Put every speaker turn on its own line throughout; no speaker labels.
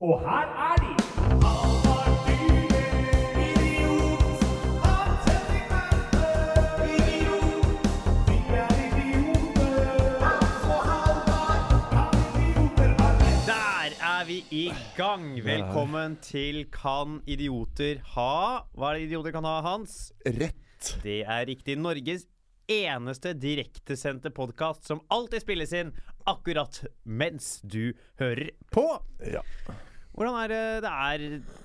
Og her er de! er
Der er vi i gang. Velkommen til Kan idioter ha Hva er det idioter kan ha, Hans?
Rett.
Det er riktig. Norges eneste direktesendte podkast som alltid spilles inn akkurat mens du hører på.
Ja.
Hvordan er det Det er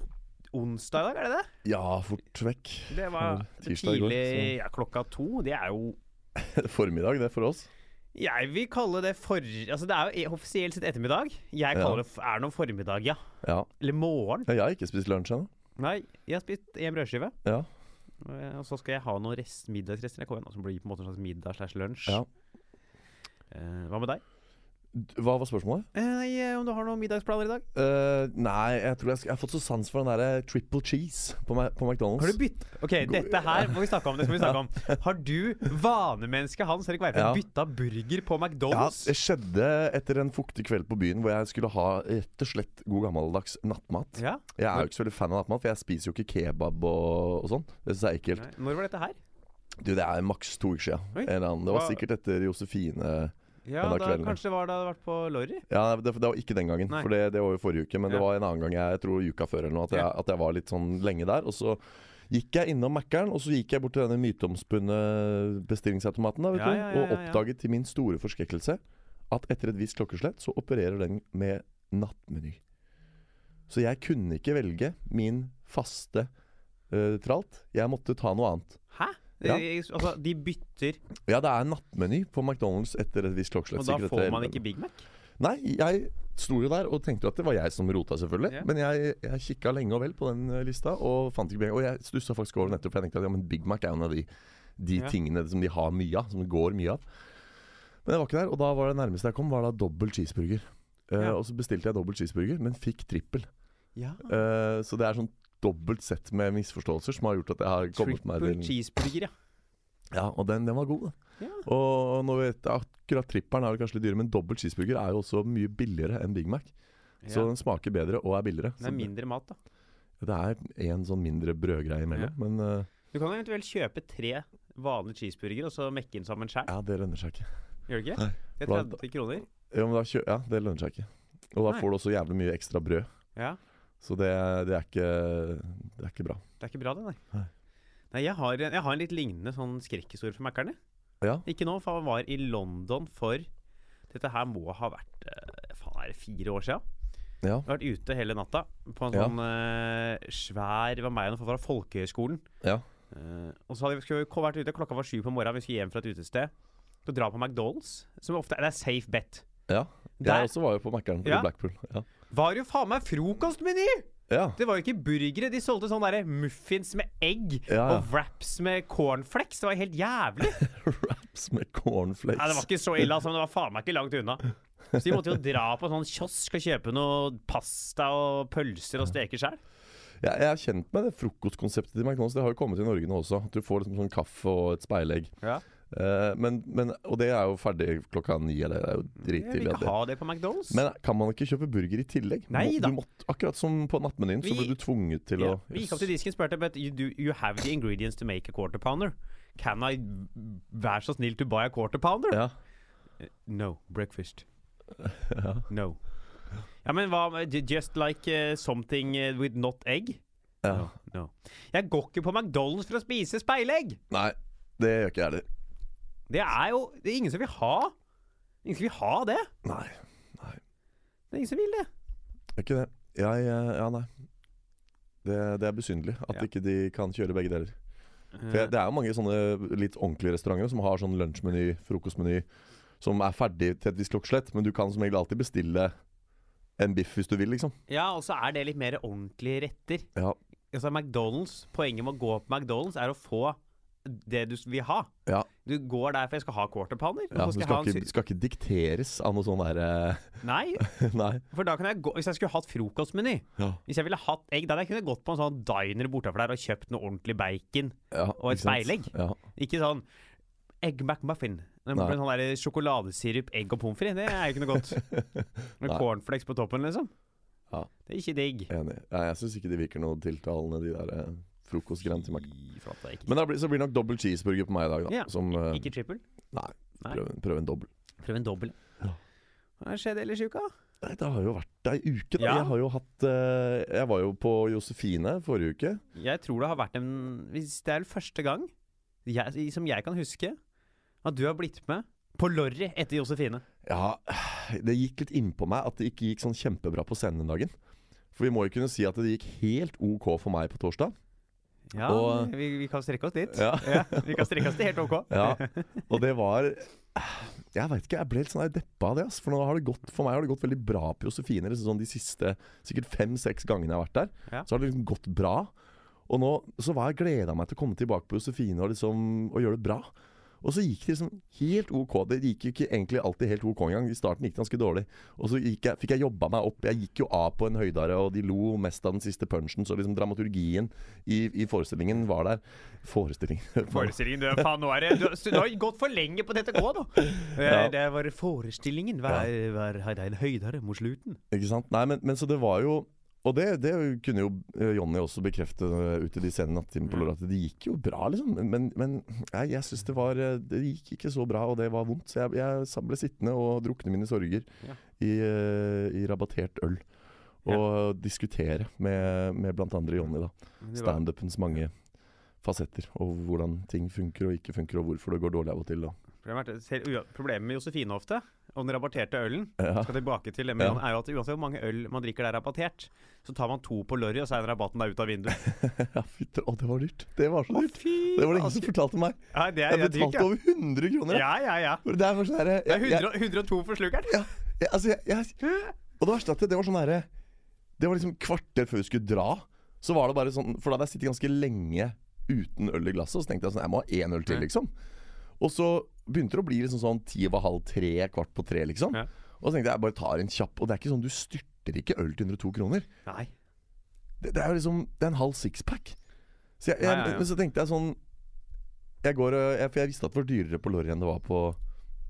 onsdag i dag, er det det?
ja, fort vekk.
Det var
tirsdag i går,
tidlig ja, klokka to. Det er jo
Formiddag, det, for oss.
Jeg vil kalle det for... Altså, det er jo offisielt sett ettermiddag. Jeg kaller det f- er noe formiddag, ja.
Ja.
Eller morgen.
ja jeg har ikke spist lunsj ennå.
Nei, jeg har spist en brødskive.
Ja.
eh, Og så skal jeg ha noen rest, middagsrester når jeg kommer hjem. Som blir på en måte en slags middag slash lunsj.
Ja.
Eh, hva med deg?
D- Hva var spørsmålet?
Eh, Nei, eh, Om du har noen middagsplaner i dag?
Eh, nei, jeg tror jeg, skal, jeg har fått så sans for den derre triple cheese på, Ma- på McDonald's.
Har du bytt... Ok, dette her må vi snakke om. Det skal vi snakke om. Har du, vanemennesket Hans Erik Veifjell,
Ja.
bytta burger på
ja,
McDonald's?
det skjedde etter en fuktig kveld på byen hvor jeg skulle ha rett og slett god gammeldags nattmat.
Ja.
Jeg er jo ikke så veldig fan av nattmat, for jeg spiser jo ikke kebab og, og sånn. Det syns jeg er ekkelt.
Nei. Når var dette her?
Du, det er maks to uker siden.
Oi.
En eller annen. Det var
Hva-
sikkert etter Josefine
Ja,
Den
da,
der kvelden, ja.
kanskje det var da det hadde vært på Lorry?
Ja, det, det var ikke den gangen,
Nei.
for det, det var jo forrige uke. Men det
Ja.
var en annen gang, jeg, jeg tror uka før eller noe, at jeg,
Ja.
at jeg var litt sånn lenge der. Og så gikk jeg innom Mækkern, og så gikk jeg bort til denne myteomspunne bestillingsautomaten da, vet
Ja, ja,
du,
ja,
og
ja, ja.
oppdaget til min store forskrekkelse at etter et visst klokkeslett så opererer den med nattmeny. Så jeg kunne ikke velge min faste eh, tralt. Jeg måtte ta noe annet.
Hæ?
Ja.
Eh, Altså, de bytter,
Ja, det er nattmeny på McDonald's etter et visst klokkeslett.
og da
sikkert
får
etter
man
11.
ikke Big Mac?
Nei, jeg sto jo der og tenkte jo at det var jeg som rota, selvfølgelig.
Ja.
Men jeg, jeg kikka lenge og vel på den eh, lista, og fant ikke Big Mac. Og jeg stussa faktisk over det nettopp, for jeg tenkte at ja, men Big Mac er jo en av de, de
Ja.
tingene som de har mye av, som det går mye av. Men jeg var ikke der, og da var det nærmeste jeg kom, var da dobbel cheeseburger. Eh,
Ja.
Og så bestilte jeg dobbel cheeseburger, men fikk trippel.
Ja.
Eh, så det er sånn dobbelt sett med misforståelser som har gjort at jeg har kommet meg
Triple
til
cheeseburger, ja.
Ja, Og den, den var god, da.
Ja.
Og nå vet jeg akkurat trippelen er jo kanskje litt dyrere, men dobbel cheeseburger er jo også mye billigere enn Big Mac. Så
ja.
den smaker bedre og er billigere.
Det er mindre mat, da.
Så det er en sånn mindre brødgreie imellom. Men eh,
Du kan jo eventuelt kjøpe tre vanlige cheeseburgere og så mekke inn sammen sjøl.
ja, det lønner seg ikke.
Gjør du ikke?
Nei.
Det er 30 kroner.
Ja, men da kjø ja, det lønner seg ikke. Og da
Nei.
får du også jævlig mye ekstra brød.
Ja.
Så det, det, er, ikke, det er ikke bra.
Det er ikke bra, det, nei.
Nei.
Nei, jeg har, en- jeg har en litt lignende sånn skrekkhistorie fra Mækkerne.
Ja.
Ikke nå, for han var i London for Dette her må ha vært eh, faen, er det fire år sia. Jeg
Ja.
har vært ute hele natta på en
Ja.
sånn eh, svær Det var meg og noen folk fra folkehøyskolen.
Ja.
Eh, og så hadde vi, skulle vi ko- vært ute, klokka var sju på morgenen, vi skulle hjem fra et utested. Så dra på McDonald's, som ofte det er safe bet.
ja.
Der-
Jeg også var jo på Mækkern
Ja.
i Blackpool. Ja.
Var jo faen meg frokostmeny!
ja.
Det var jo ikke burgere. De solgte sånne derre muffins med egg
Ja, ja.
og wraps med cornflakes. Det var helt jævlig.
Wraps med cornflakes.
Nei, det var ikke så ille, altså, men det var faen meg ikke langt unna. Så de måtte jo dra på en sånn kiosk og kjøpe noe pasta og pølser og steke sjøl.
jeg, jeg er kjent med det frokostkonseptet til McDonald's. Det har jo kommet i Norge nå også. At du får liksom sånn kaffe og et speilegg.
Ja.
Eh, men, men, og det er jo ferdig klokka ni. eller Det er jo
Jeg vil
drittidlig. at
ikke
det-
ha det på McDonald's.
Men kan man ikke kjøpe burger i tillegg? Du
Nei
må-
da.
Du måtte, akkurat som på nattmenyen, så
Vi-
ble du tvunget til
ja.
å
Vi gikk opp til disken og spurte but you, do, you have the ingredients to make a quarter pounder. Can I være så snill to buy a quarter pounder?
Ja.
No. Breakfast.
ja.
No. Ja, men hva med ju- Just like eh, something eh, with not egg?
ja.
No. Jeg går ikke på McDonald's for å spise speilegg!
Nei, det gjør ikke jeg heller.
Det er jo det er ingen som vil ha Ingen som vil ha det.
Nei,
Det er ingen som vil det.
gjør ikke det. Jeg eh, Ja, nei. Det, det er besynderlig at
Ja.
ikke de kan kjøre begge deler.
Eh,
For jeg, Det er jo mange sånne litt ordentlige restauranter som har sånn lunsjmeny, frokostmeny, som er ferdig til et visst klokkeslett, men du kan som regel alltid bestille en biff hvis du vil, liksom.
Eh, Ja, og så er det litt mer ordentlige retter.
Ja.
Altså McDonald's, Poenget med å gå på McDonald's er å få det du s- vil ha.
Ja.
Du går der for jeg skal ha quarter pounder.
ja
og så skal
du
jeg
skal
ha en
ikke, skal ikke dikteres av noe sånn derre
sy- Nei,
Nei.
for da kan jeg gå Hvis jeg skulle hatt frokostmeny
Ja.
Hvis jeg ville hatt egg, da hadde jeg kunnet gått på en sånn diner bortafor der og kjøpt noe ordentlig bacon.
Ja,
Og et
ikke sant?
speilegg.
Ja.
Ikke sånn egg McMuffin. Den
Nei.
med Sånn der sjokoladesirup, egg og pommes frites. Det er jo ikke noe godt. Med
Nei.
cornflakes på toppen, liksom.
Ja.
Det er ikke digg.
Enig. Nei, jeg syns ikke de virker noe tiltalende, de der eh, frokostgreiene til Mac.
Fy flate, ikke.
Men da blir, så blir det nok dobbel cheeseburger på meg i dag, da.
Ja,
Som eh,
ikke trippel.
Nei.
Nei.
Prøv, prøv en dobbel.
Prøv en dobbel.
Ja.
Hva har skjedd ellers i uka?
Nei, det har jo vært ei uke, da.
Ja.
Jeg har jo hatt eh, Jeg var jo på Josefine forrige uke.
Jeg tror det har vært en hvis Det er vel første gang jeg, som jeg kan huske at du har blitt med på Lorry etter Josefine.
Ja, det gikk litt innpå meg at det ikke gikk sånn kjempebra på scenen den dagen. For vi må jo kunne si at det gikk helt OK for meg på torsdag.
Ja,
Og-
vi, vi kan strekke oss dit.
Ja.
vi kan strekke oss til helt ok.
Ja, Og det var Jeg veit ikke, jeg ble litt sånn der deppa av det. Ass. For nå har det gått, for meg har det gått veldig bra på Josefine. Liksom sånn de siste sikkert fem-seks gangene jeg har vært der.
Ja.
Så har det liksom gått bra. Og nå så var jeg gleda meg til å komme tilbake på Josefine og, liksom, og gjøre det bra. Og så gikk det liksom helt OK. Det gikk jo ikke egentlig alltid helt OK engang. I starten gikk det ganske dårlig. Og så gikk jeg, fikk jeg jobba meg opp. Jeg gikk jo av på en høydare, og de lo mest av den siste punchen. Så liksom dramaturgien i, i forestillingen var der. Forestillingen
Forestillingen, du, faen, nå er det, du, du har gått for lenge på dette gå, nå.
Ja.
Eh, Det var forestillingen. Hver, hver, det er en høydere mot slutten.
Ikke sant? Nei, men, men så det var jo Og det, det kunne jo eh, Jonny også bekrefte eh, ute i de sene nattetimene
Mm.
på lørdag. At det gikk jo bra, liksom. Men, men nei, jeg syns det var eh, Det gikk ikke så bra, og det var vondt. Så jeg, jeg sa- ble sittende og drukne mine sorger
Ja.
i, eh, i rabattert øl. Og diskutere med, med bl.a. Jonny, da.
Det var-
Standupens mange fasetter. Og hvordan ting funker og ikke funker, og hvorfor det går dårlig av og til. Da.
Problemet er at selv- ua- problemet med Josefine ofte, og den rabatterte ølen,
Ja.
skal tilbake til det, men
Ja.
er jo at uansett hvor mange øl man drikker der rabattert, så tar man to på lorry, og så er den rabatten der ut av vinduet.
ja, fytter. Å, det var dyrt. Det var så
Å,
dyrt.
fy
Det var det ingen
aske.
som fortalte meg.
Nei, det er
Jeg
jeg
betalte
drikker.
over 100 kroner. jeg.
Ja, ja, ja.
For Det er bare sånn herre
Det er 100, og- 102 for slukeren.
ja, ja, altså, jeg, jeg, Og det verste er at det, det var sånn herre Det var liksom kvarter før vi skulle dra, så var det bare sånn For da hadde jeg sittet ganske lenge uten øl i glasset, og så tenkte jeg sånn Jeg må ha én øl til, liksom. Og så begynte det å bli liksom sånn ti over halv tre, kvart på tre, liksom.
Ja.
Og så tenkte jeg jeg bare tar en kjapp. Og det er ikke sånn du styrter ikke øl til 102 kroner.
Nei.
Det, det er jo liksom Det er en halv sixpack. Så jeg, jeg,
Ja, ja, ja.
Men så tenkte jeg sånn jeg går, og- jeg, For jeg visste at det var dyrere på Lorry enn det var på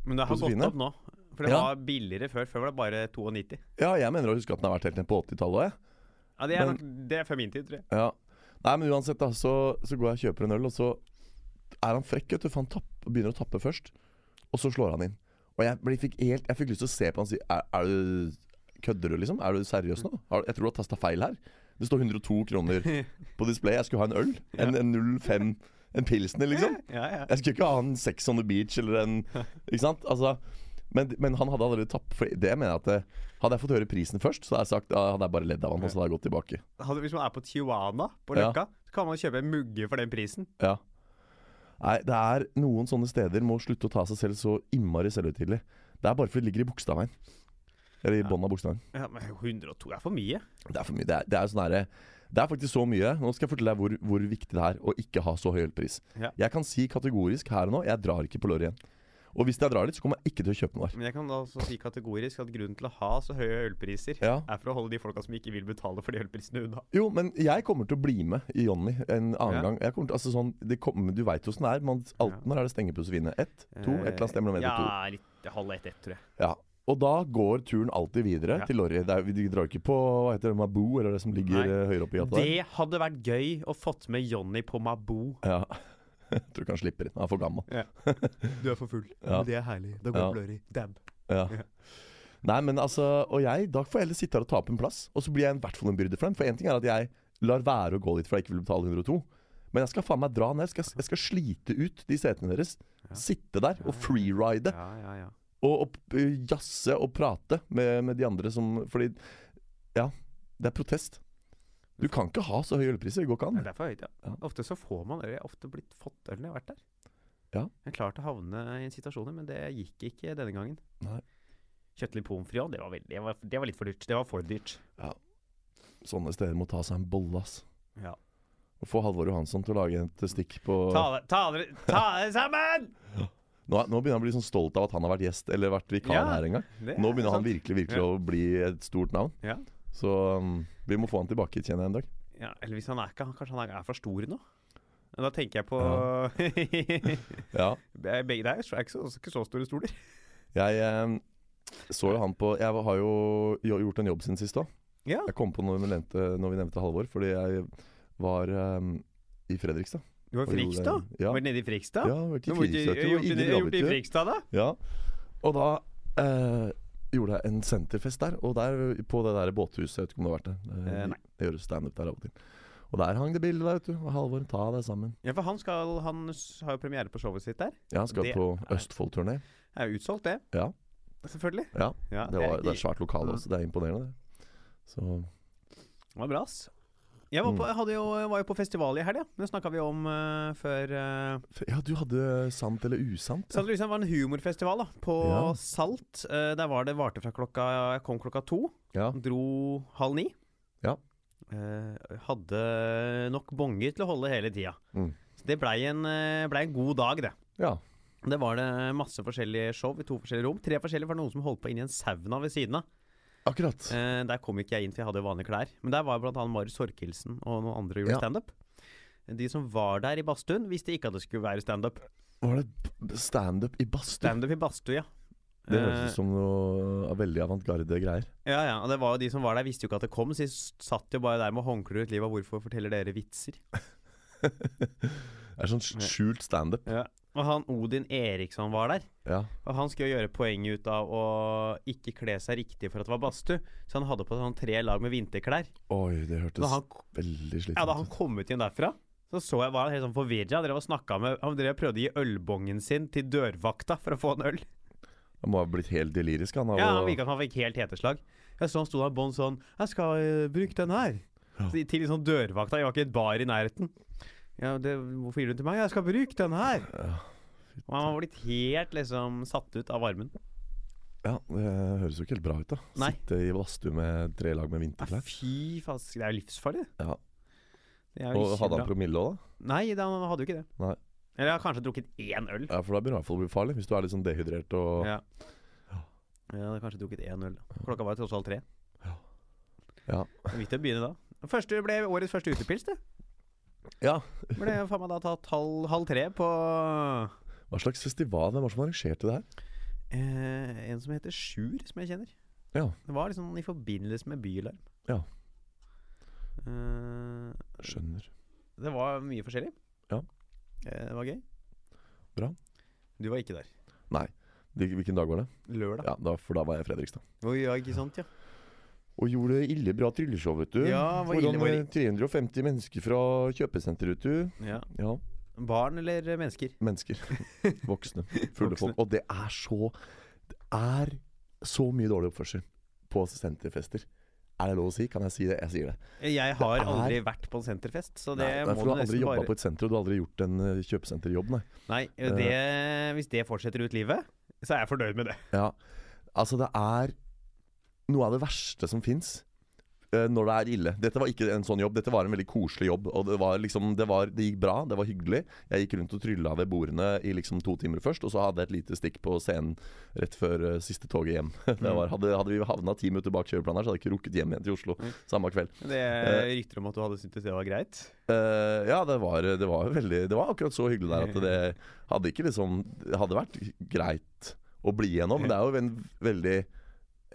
Men det har
Josefine?
gått opp nå. For det
Ja.
var billigere før. Før var det bare 92.
Ja, jeg mener å huske at den har vært helt ned på 80-tallet òg, jeg.
Ja, det er,
Men-
nok, det er før min tid, tror jeg.
Ja. Nei, men uansett, da, så, så går jeg og kjøper en øl, og så er han frekk, vet du, for han tapp, begynner å tappe først. Og så slår han inn. Og jeg, ble, fikk, helt, jeg fikk lyst til å se på han og si er, er du, Kødder du, liksom? Er du seriøs nå? Har, jeg tror du har tasta feil her. Det står 102 kroner på displayet. Jeg skulle ha en øl. En, en 05. En pilsner, liksom.
Ja, ja.
Jeg skulle ikke ha en Sex on the Beach eller en Ikke sant? Altså, men, men han hadde allerede tapt. For det mener jeg at eh, Hadde jeg fått høre prisen først, så hadde jeg sagt, da hadde jeg bare ledd av han, og så hadde jeg gått tilbake.
Hadde- Hvis man er på Tijuana, på
Ja.
Løkka, så kan man kjøpe en mugge for den prisen.
Ja. Nei, det er noen sånne steder må slutte å ta seg selv så innmari selvhøytidelig. Det er bare fordi det ligger i bokstaveien. Eller i
Ja.
bånn av bokstaven.
Ja, men 102 er for mye.
Det er for mye. Det er, det er sånn herre det er faktisk så mye. Nå skal jeg fortelle deg hvor, hvor viktig det er å ikke ha så høy ølpris.
Ja.
Jeg kan si kategorisk her og nå jeg drar ikke på Lorry igjen. Og hvis jeg drar dit, så kommer jeg ikke til å kjøpe noe der.
Men jeg kan da også si kategorisk at grunnen til å ha så høye ølpriser,
Ja.
er for å holde de folka som ikke vil betale for de ølprisene unna.
Jo, men jeg kommer til å bli med i Johnny en annen
Ja.
gang. Jeg kommer til, altså sånn, det kommer- du veit åssen det er. Man, alt, når er det stengepusevine? Ett? To? Et eller annet sted mellom ett og to?
Ja, litt halv ett, ett, tror jeg.
Ja. Og da går turen alltid videre
Ja.
til Lorry. Det er, vi drar ikke på hva heter det, Mabou, eller det som ligger
Nei.
eh, høyere oppe i gata der.
Det hadde vært gøy å fått med Johnny på Mabo.
Ja. Jeg tror ikke han slipper inn. Han er for gammel.
Du er for full.
Ja.
Det er herlig. Da
går Ja.
blurry. Dab.
Ja.
Ja.
Nei, men altså Og jeg, da får jeg heller sitte her og ta opp en plass. Og så blir jeg i hvert fall en byrde for dem. For én ting er at jeg lar være å gå dit fordi jeg ikke vil betale 102. Men jeg skal faen meg dra ned. Jeg skal, jeg skal slite ut de setene deres. Sitte der og freeride.
Ja, ja, ja.
Og, og p- jazze og prate med, med de andre som Fordi Ja, det er protest. Du kan ikke ha så høye ølpriser. Det går ikke an.
Nei, Det er for høyt, ja.
Mm. Ja.
Ofte så får man øl. Jeg har ofte blitt fått øl når jeg har vært der.
Ja.
Jeg har klart å havne i situasjoner, men det gikk ikke denne gangen.
Nei.
Kjøttlig pommes frites, det, var veldig- det, var- det var litt for dyrt. Det var for dyrt.
Sånne steder må ta seg en bolle, ass.
Ja.
Og få Halvor Johansson til å lage et stikk på
Ta, dere- ta, dere- ta dere sammen!
nå, er- nå begynner han å bli sånn stolt av at han har vært gjest eller vært vikar
Ja,
her en gang.
Det
Nå
er sånn.
begynner han
sant.
virkelig virkelig
Ja.
å bli et stort navn.
Ja.
Så um, vi må få han tilbake, kjenner jeg en dag.
Ja, eller hvis han er ikke han- Kanskje han er- er for stor nå? Men Da tenker jeg på
Ja.
Begge der er ikke så, ikke så store stoler.
um, Jeg eh, så jo han på Jeg har jo jo- gjort en jobb siden sist òg.
Ja.
Jeg kom på noe vi nevnte, når vi nevnte Halvor, fordi jeg var eh, i Fredrikstad.
Du var i
Og gjorde-
Frikstad?
Ja.
Var du nede i Frikstad?
Ja, jeg har vært i
Nå må du ikke-
Frikstad,
Gjort
og
det gjort
Ingrid
det i
Rabbitjø.
Frikstad, da?
Ja, og da eh, gjorde jeg en senterfest der, og der på det der båthuset, jeg vet ikke om det har vært det.
Eh,
Eh,
nei.
Jeg gjør standup der av og til. Og der hang det bilde der, vet du. Og Halvor, ta deg sammen.
Ja, for han, skal, han s- har jo premiere på showet sitt der.
Ja, han skal
Det
på
er-
Østfold-turné.
Det er jo utsolgt, det.
Ja.
Selvfølgelig.
Ja,
Ja,
det, var,
jeg-
det er svært lokale også. Det er imponerende, det. Så
Det var bra, ass. Jeg var, på,
Mm.
jeg hadde jo, jeg var jo på festival i helga. Det snakka vi om eh, før. Uh,
Ja, du hadde sant eller usant?
St. Lucia var en humorfestival da, på
Ja.
Salt. Eh, der var det varte fra klokka Jeg kom klokka to,
Ja.
dro halv ni.
Ja.
Eh, hadde nok bonger til å holde hele tida.
Mm.
Så det blei en, eh, blei en god dag, det.
ja.
Det var det masse forskjellige show i to forskjellige rom. Tre forskjellige var det noen som holdt på inni en sauna ved siden av.
Akkurat.
Eh, der kom ikke jeg inn, for jeg hadde jo vanlige klær. Men der var blant annet Marius Sorkelsen og noen andre og gjorde
Ja.
standup. De som var der i badstuen, visste ikke at det skulle være standup.
Var det b- standup i badstue?
Standup i badstue, ja.
Det
Eh,
høres ut som noe av veldig avantgarde greier.
Ja, ja, og det var jo De som var der, visste jo ikke at det kom, så de s- satt jo bare der med håndklær ut livet. Hvorfor forteller dere vitser?
Det er sånn skjult standup.
Og han Odin Eriksson var der.
Ja.
Og han skulle jo gjøre poenget ut av å ikke kle seg riktig for at det var badstue, så han hadde på sånn tre lag med vinterklær.
Oi, det
Da
hørtes
han,
veldig
ja, da
slitsomt
han
ut.
kom ut igjen derfra, så så jeg var han helt sånn forvirra. Han drev og snakket med Han drev og prøvde å gi ølbongen sin til dørvakta for å få en øl.
Han må ha blitt helt delirisk, han. av
Ja,
å-
han virka som han fikk helt heteslag. Jeg så han sto der bånn sånn 'Jeg skal eh, bruke den her.'
Ja.
Så- Til liksom dørvakta. Jeg var ikke et bar i nærheten. Ja, det, 'Hvorfor gir du den til meg?' 'Jeg skal bruke den her.'
Ja.
Og han var blitt helt liksom satt ut av varmen.
ja, det høres jo ikke helt bra ut, da.
Nei.
Sitte i badstue med tre lag med
Nei,
vinterklær.
fy faen, det er jo livsfarlig. det.
Ja.
Det er jo
Og
ikke
hadde
bra.
han promille òg, da?
Nei, det- han hadde jo ikke det.
Nei.
Eller jeg har kanskje drukket én øl.
Ja, for da begynner det i hvert fall å bli farlig. Hvis du er litt sånn dehydrert og Ja,
Ja. Jeg hadde kanskje drukket én øl. Klokka var jo tross alt tre.
Ja.
Det er viktig å begynne da. Første ble årets første utepils, det. Ble faen meg da tatt halv, halv tre på
Hva slags festival? Hvem var det som arrangerte det her?
Eh, en som heter Sjur, som jeg kjenner.
Ja.
Det var liksom i forbindelse med Byalarm.
Ja.
Eh,
Skjønner.
det var mye forskjellig.
Ja.
Eh, det var gøy.
Bra.
Du var ikke der.
Nei. Hvil- Hvilken dag var det?
Lørdag.
Ja, da, For da var jeg i Fredrikstad.
Å, Ja, ikke sant, ja.
Og gjorde ille bra trylleshow, vet du.
Ja, var ille,
Foran
var
eh,
ille.
350 mennesker fra kjøpesenteret, vet du.
ja.
Ja,
Barn eller eh, mennesker?
mennesker. Voksne. Fulle
Voksne.
folk. Og det er så Det er så mye dårlig oppførsel på senterfester. Er det lov å si? Kan jeg si det? Jeg sier det.
Eh, Jeg har
er-
aldri vært på en senterfest, så det
Nei,
må
for du
du
har aldri
nesten
jobba
bare
på et senter, og du har aldri gjort en eh, kjøpesenterjobb, nei.
Nei, eh, det, hvis det fortsetter ut livet, så er jeg fornøyd med det.
Ja, altså det er noe av det verste som fins når det er ille. Dette var ikke en sånn jobb, dette var en veldig koselig jobb. Og det, var liksom, det, var, det gikk bra, det var hyggelig. Jeg gikk rundt og trylla ved bordene i liksom to timer først, og så hadde jeg et lite stikk på scenen rett før eh, siste toget hjem. Det var, hadde, hadde vi havna ti minutter bak kjøreplanen her, så hadde jeg ikke rukket hjem igjen til Oslo samme kveld.
Det er rykter om at du hadde syntes det var greit.
Eh, ja, det var, det var veldig Det var akkurat så hyggelig der at det hadde ikke liksom Det hadde vært greit å bli igjennom, men det er jo en veldig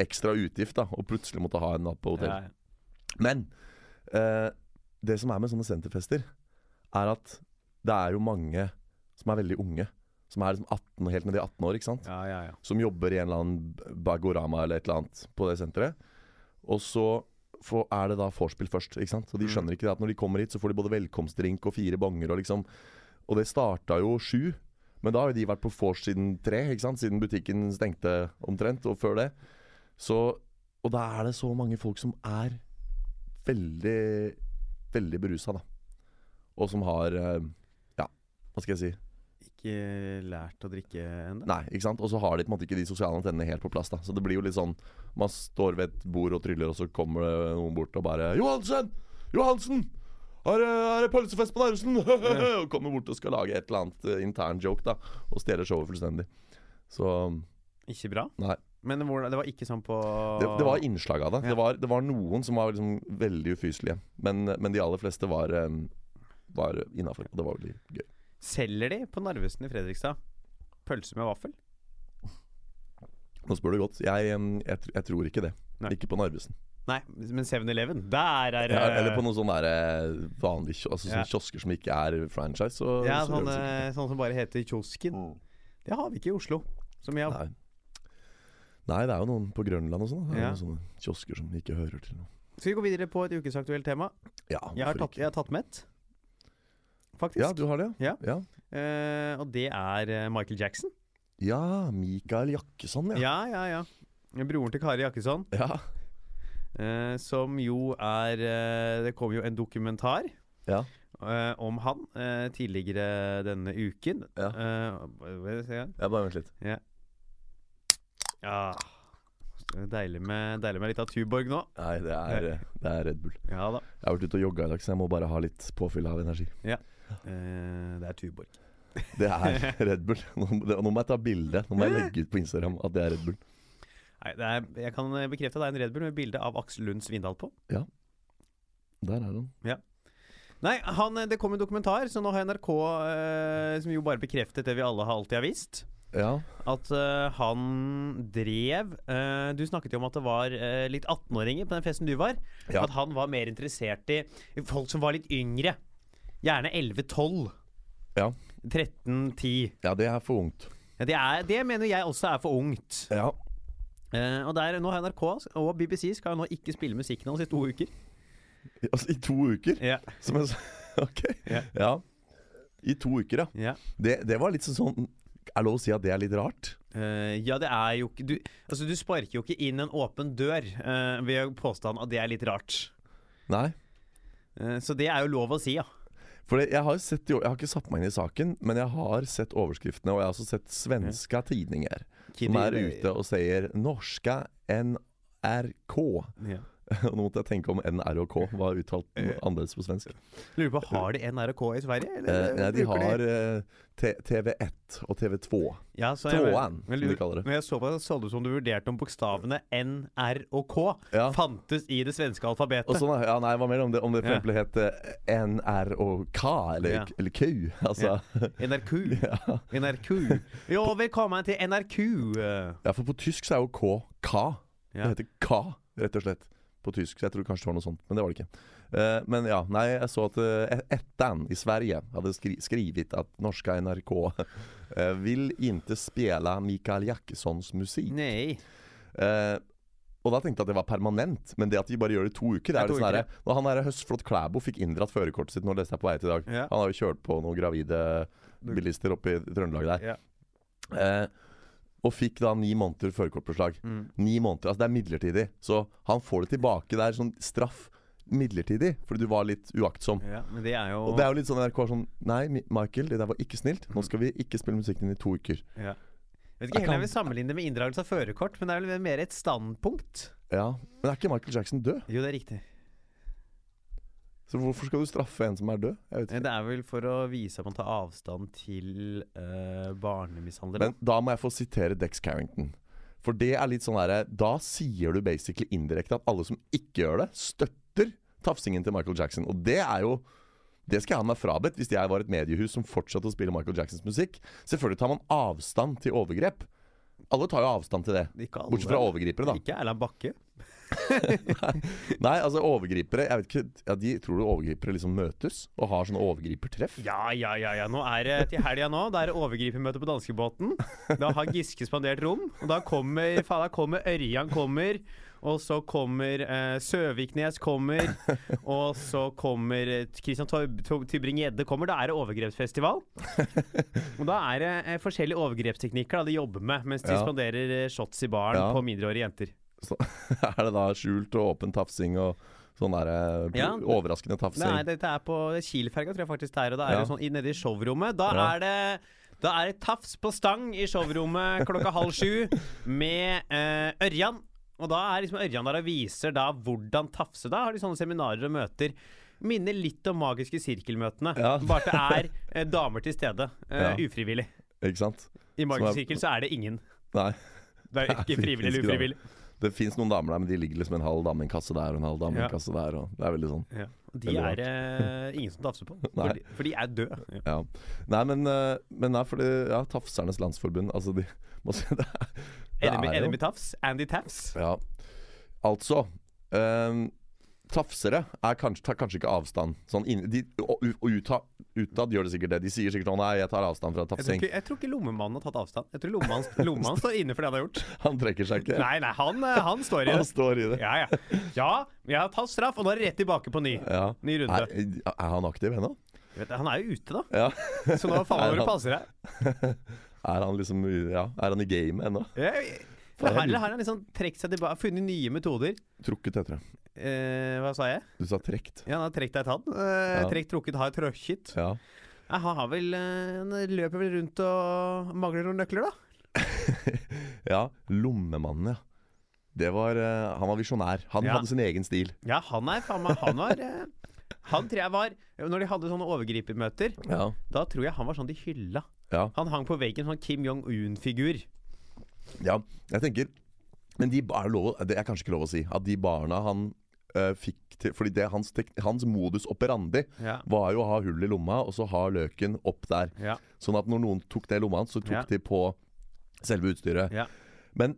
ekstra utgift da å plutselig måtte ha en natt på hotell.
Ja.
Men eh, det som er med sånne senterfester, er at det er jo mange som er veldig unge. Som er liksom 18, helt ned i 18 år, ikke sant
ja, ja, ja.
som jobber i en eller annen Bagorama eller et eller annet på det senteret. Og så få- er det da vorspiel først. ikke sant? Så de skjønner ikke det at når de kommer hit, så får de både velkomstdrink og fire bonger. Og liksom Og det starta jo sju, men da har jo de vært på vors siden tre, ikke sant? siden butikken stengte omtrent, og før det. Så Og da er det så mange folk som er veldig, veldig berusa, da. Og som har eh, Ja, hva skal jeg si?
Ikke lært å drikke ennå?
Nei, ikke sant? Og så har de på en måte ikke de sosiale antennene helt på plass. da Så det blir jo litt sånn Man står ved et bord og tryller, og så kommer det noen bort og bare 'Johansen! Johansen! Er, det- er det pølsefest på Narvesen?' og kommer bort og skal lage et eller annet eh, intern joke, da. Og stjeler showet fullstendig. Så
Ikke bra?
Nei.
Men hvordan, det var ikke sånn på
det, det var innslag av det.
Ja.
Det, var, det var noen som var liksom veldig ufyselige. Men, men de aller fleste var, eh, var innafor. Og det var veldig gøy.
Selger de på Narvesen i Fredrikstad pølse med vaffel?
Nå spør du godt. Jeg, eh, jeg, tr- jeg tror ikke det.
Nei.
Ikke på Narvesen.
Nei, men 7-Eleven, der er
Ja,
eh,
eller på noen sånne der, eh, vanlige kio- altså,
Ja.
sånne kiosker som ikke er franchise. Så,
ja,
så gjør
sånn,
det sikkert.
eh, sånn som bare heter kiosken. Det har vi ikke i Oslo. Som jeg,
Mm. Nei. Nei, det er jo noen på Grønland og sånn. da. Det er
Ja.
noen Sånne kiosker som ikke hører til noe.
Skal vi gå videre på et ukesaktuelt tema?
Ja,
Jeg har
hvorfor
tatt,
ikke?
jeg har tatt med et, faktisk.
ja, du har det?
Ja.
ja.
Eh, og det er eh, Michael Jackson.
ja Mikael Jakkesson, ja.
Ja, ja, ja. Broren til Kari Jakkesson,
Ja.
eh, som jo er eh, Det kom jo en dokumentar
Ja.
eh, om han eh, tidligere denne uken.
Ja.
Eh, hva er det jeg sier?
ja, bare vent litt.
Ja. Deilig med, deilig med litt av Tuborg nå.
Nei, det er, eh, det er Red Bull.
Ja da.
Jeg har vært ute og jogga i dag, så jeg må bare ha litt påfyll av energi.
Eh, det er Tuborg.
Det er Red Bull. Nå, må- det, nå må jeg ta bilde. Nå må jeg legge ut på Instagram at det er Red Bull.
Nei, det er, jeg kan eh, bekrefte at det er en Red Bull med bilde av Aksel Lund Svindal på.
Der er den.
Nei, han, eh, det kom en dokumentar, så nå har NRK, eh, som jo bare bekreftet det vi alle har alltid har visst,
Ja.
at eh, han drev eh, Du snakket jo om at det var eh, litt 18-åringer på den festen du var.
Ja.
At han var mer interessert i folk som var litt yngre. Gjerne 11-12.
Ja.
13-10.
ja, det er for ungt.
Ja, det, er- det mener jeg også er for ungt.
Ja.
Eh, og der, nå har NRK og BBC skal jo nå ikke spille musikken hans i to uker.
Altså, I to uker?
Ja.
Som jeg sa Ok.
Ja.
Ja. I to uker, ja.
Ja.
Det, det var litt sånn Er lov å si at det er litt rart?
Eh, ja, det er jo ikke du, altså, du sparker jo ikke inn en åpen dør eh, ved påstanden at det er litt rart.
Nei.
Eh, så det er jo lov å si, ja.
For det, jeg har jo sett i år- Jeg har ikke satt meg inn i saken, men jeg har sett overskriftene, og jeg har også sett svenske tidninger som er ute og sier 'norska NRK'.
Ja.
Nå måtte jeg tenke om NR og K var uttalt noe annerledes på svensk.
Lurer på, Har de NRK i Sverige?
Eh,
eller
nei, de
bruker
har eh, T- TV1 og TV2.
ja, så jeg-
Tråden,
men
som de
lurer-
kaller det.
Når jeg så på det, så det ut som du vurderte om bokstavene N, R og K
Ja.
fantes i det svenske alfabetet.
Og sånn, da. ja, nei, hva mer om det, om det for
Ja.
eksempel het eh, NR og K, eller,
Ja.
eller Q? Altså,
NRK. NRK. Ja, velkommen til NRK. eh.
Ja, for på tysk så er jo K K.
Ja.
Det heter K, rett og slett. På tysk. Så jeg tror kanskje det var noe sånt, men det var det ikke. Eh, men ja, nei, jeg så at uh, Ettan i Sverige hadde skri skrivit at norska NRK eh, vil inte spela Mikael Jackessons musik.
Nei.
Eh, og da tenkte jeg at det var permanent, men det at de bare gjør det i to uker det
Ja,
er
to
litt sånn
uker,
herre- Når han der Høstflot Klæbo fikk inndratt førerkortet sitt, nå leste jeg på vei til i dag
Ja.
Han har jo kjørt på noen gravide bilister oppe i Trøndelag der.
Ja.
Eh, og fikk da ni måneder førerkortpåslag.
Mm.
Ni måneder, altså Det er midlertidig. Så han får det tilbake der som straff midlertidig, fordi du var litt uaktsom.
Ja, men det er jo
Og det er jo litt sånn NRK er sånn Nei, Mi- Michael, det der var ikke snilt. Nå skal vi ikke spille musikken din i to uker.
ja. Jeg vet ikke helt
Jeg
om
kan-
jeg vil sammenligne det med inndragelse av førerkort, men det er vel mer et standpunkt.
Ja, Men er ikke Michael Jackson død?
Jo, det er riktig.
Så hvorfor skal du straffe en som er død? Jeg vet ikke.
Eh, Det er vel for å vise at man tar avstand til uh, barnemishandlere.
Men da må jeg få sitere Dex Carrington. For det er litt sånn derre Da sier du basically indirekte at alle som ikke gjør det, støtter tafsingen til Michael Jackson. Og det er jo Det skal jeg ha meg frabedt hvis jeg var et mediehus som fortsatte å spille Michael Jacksons musikk. Selvfølgelig tar man avstand til overgrep. Alle tar jo avstand til det.
Ikke alle.
Bortsett fra overgripere, da.
Ikke Erland Bakke.
Nei, altså overgripere Jeg vet ikke ja, de Tror du overgripere liksom møtes og har sånne overgripertreff?
Ja, ja, ja. ja. Nå er det til helga nå. Da er det overgripermøte på danskebåten. Da har Giske spandert rom. Og da kommer, faen, da kommer Ørjan kommer. Og så kommer eh, Søviknes kommer. Og så kommer eh, Christian Torb- Tor- Tybring-Gjedde kommer. Da er det overgrepsfestival. Og da er det eh, forskjellige overgrepsteknikker da de jobber med mens de
Ja.
spanderer eh, shots i baren
Ja.
på mindreårige jenter.
Så, er det da skjult og åpen tafsing og sånn derre
Ja.
overraskende tafsing?
Nei, dette er på Kielferga, tror jeg faktisk det er. Og da er det
Ja.
sånn i- nede i showrommet. Da
Ja.
er det da er det tafs på stang i showrommet klokka halv sju med eh, Ørjan. Og da er liksom Ørjan der og viser da hvordan tafse. Da har de sånne seminarer og møter. Minner litt om magiske sirkelmøtene.
Ja.
Bare at det er eh, damer til stede. eh,
Ja.
Ufrivillig.
Ikke sant?
I magisk
Som er-
sirkel så er det ingen.
Nei.
Det er
Det er
ikke frivillig eller
frivillig, da.
ufrivillig.
Det fins noen damer der, men de ligger liksom en halv dame i en kasse der og en halv dame i
Ja.
en kasse der. Og det er veldig sånn.
Ja. De
Veldig
er
rart.
eh, ingen som tafser på.
Nei.
For de, for de er døde. Ja.
Ja. Nei, men, eh, men nei, for det, ja, Tafsernes Landsforbund, altså de må si det. er- det
Enemy,
er jo-
enemy tafs. Andy tafs.
Ja. Altså, Ehm, tafsere er kanskje, tar kanskje ikke avstand. Sånn inn, de, og, og uta- utad gjør det sikkert det. De sier sikkert sånn Nei, jeg tar avstand fra
Jeg tror,
tafsing.
ikke, jeg tror ikke lommemannen har tatt avstand. Jeg tror lommemannen, lommemannen står inne for det han har gjort.
Han trekker seg ikke.
Nei, nei, han, eh, han står i
Han
det.
står i det.
Ja, ja. Ja, jeg har tatt straff, og nå er det rett tilbake på ny.
Ja.
Ny runde.
Er, er han aktiv ennå?
Jeg Vet, han er jo ute, da.
Ja.
Så nå faen
Er
meg må
han-
du passe deg.
Er han liksom Ja, er han i gamet ennå?
Jeg- Eller har, eller har han liksom trukket seg tilbake, funnet nye metoder?
Trukket, heter det.
Eh, hva sa jeg?
Du sa trekt.
Ja, han har trukket ei tann. Eh,
Ja.
Trukket, trukket, har trøkket.
Ja.
Nei, Han har vel eh, Han løper vel rundt og mangler noen nøkler, da.
ja. Lommemannen, ja. Det var, eh, han var visjonær. Han
Ja.
hadde sin egen stil.
Ja, han er faen meg Han var eh, Han tror jeg var Når de hadde sånne overgripermøter,
Ja.
da tror jeg han var sånn de hylla.
Ja.
Han hang på veggen som en Kim Jong-un-figur.
Ja, jeg tenker Men de ba- er lov, det er kanskje ikke lov å si at de barna han eh, fikk til Fordi det, hans, tek, hans modus operandi
Ja.
var jo å ha hull i lomma, og så ha løken opp der.
Ja.
Sånn at når noen tok det i lomma hans, så tok
Ja.
de på selve utstyret.
Ja.
Men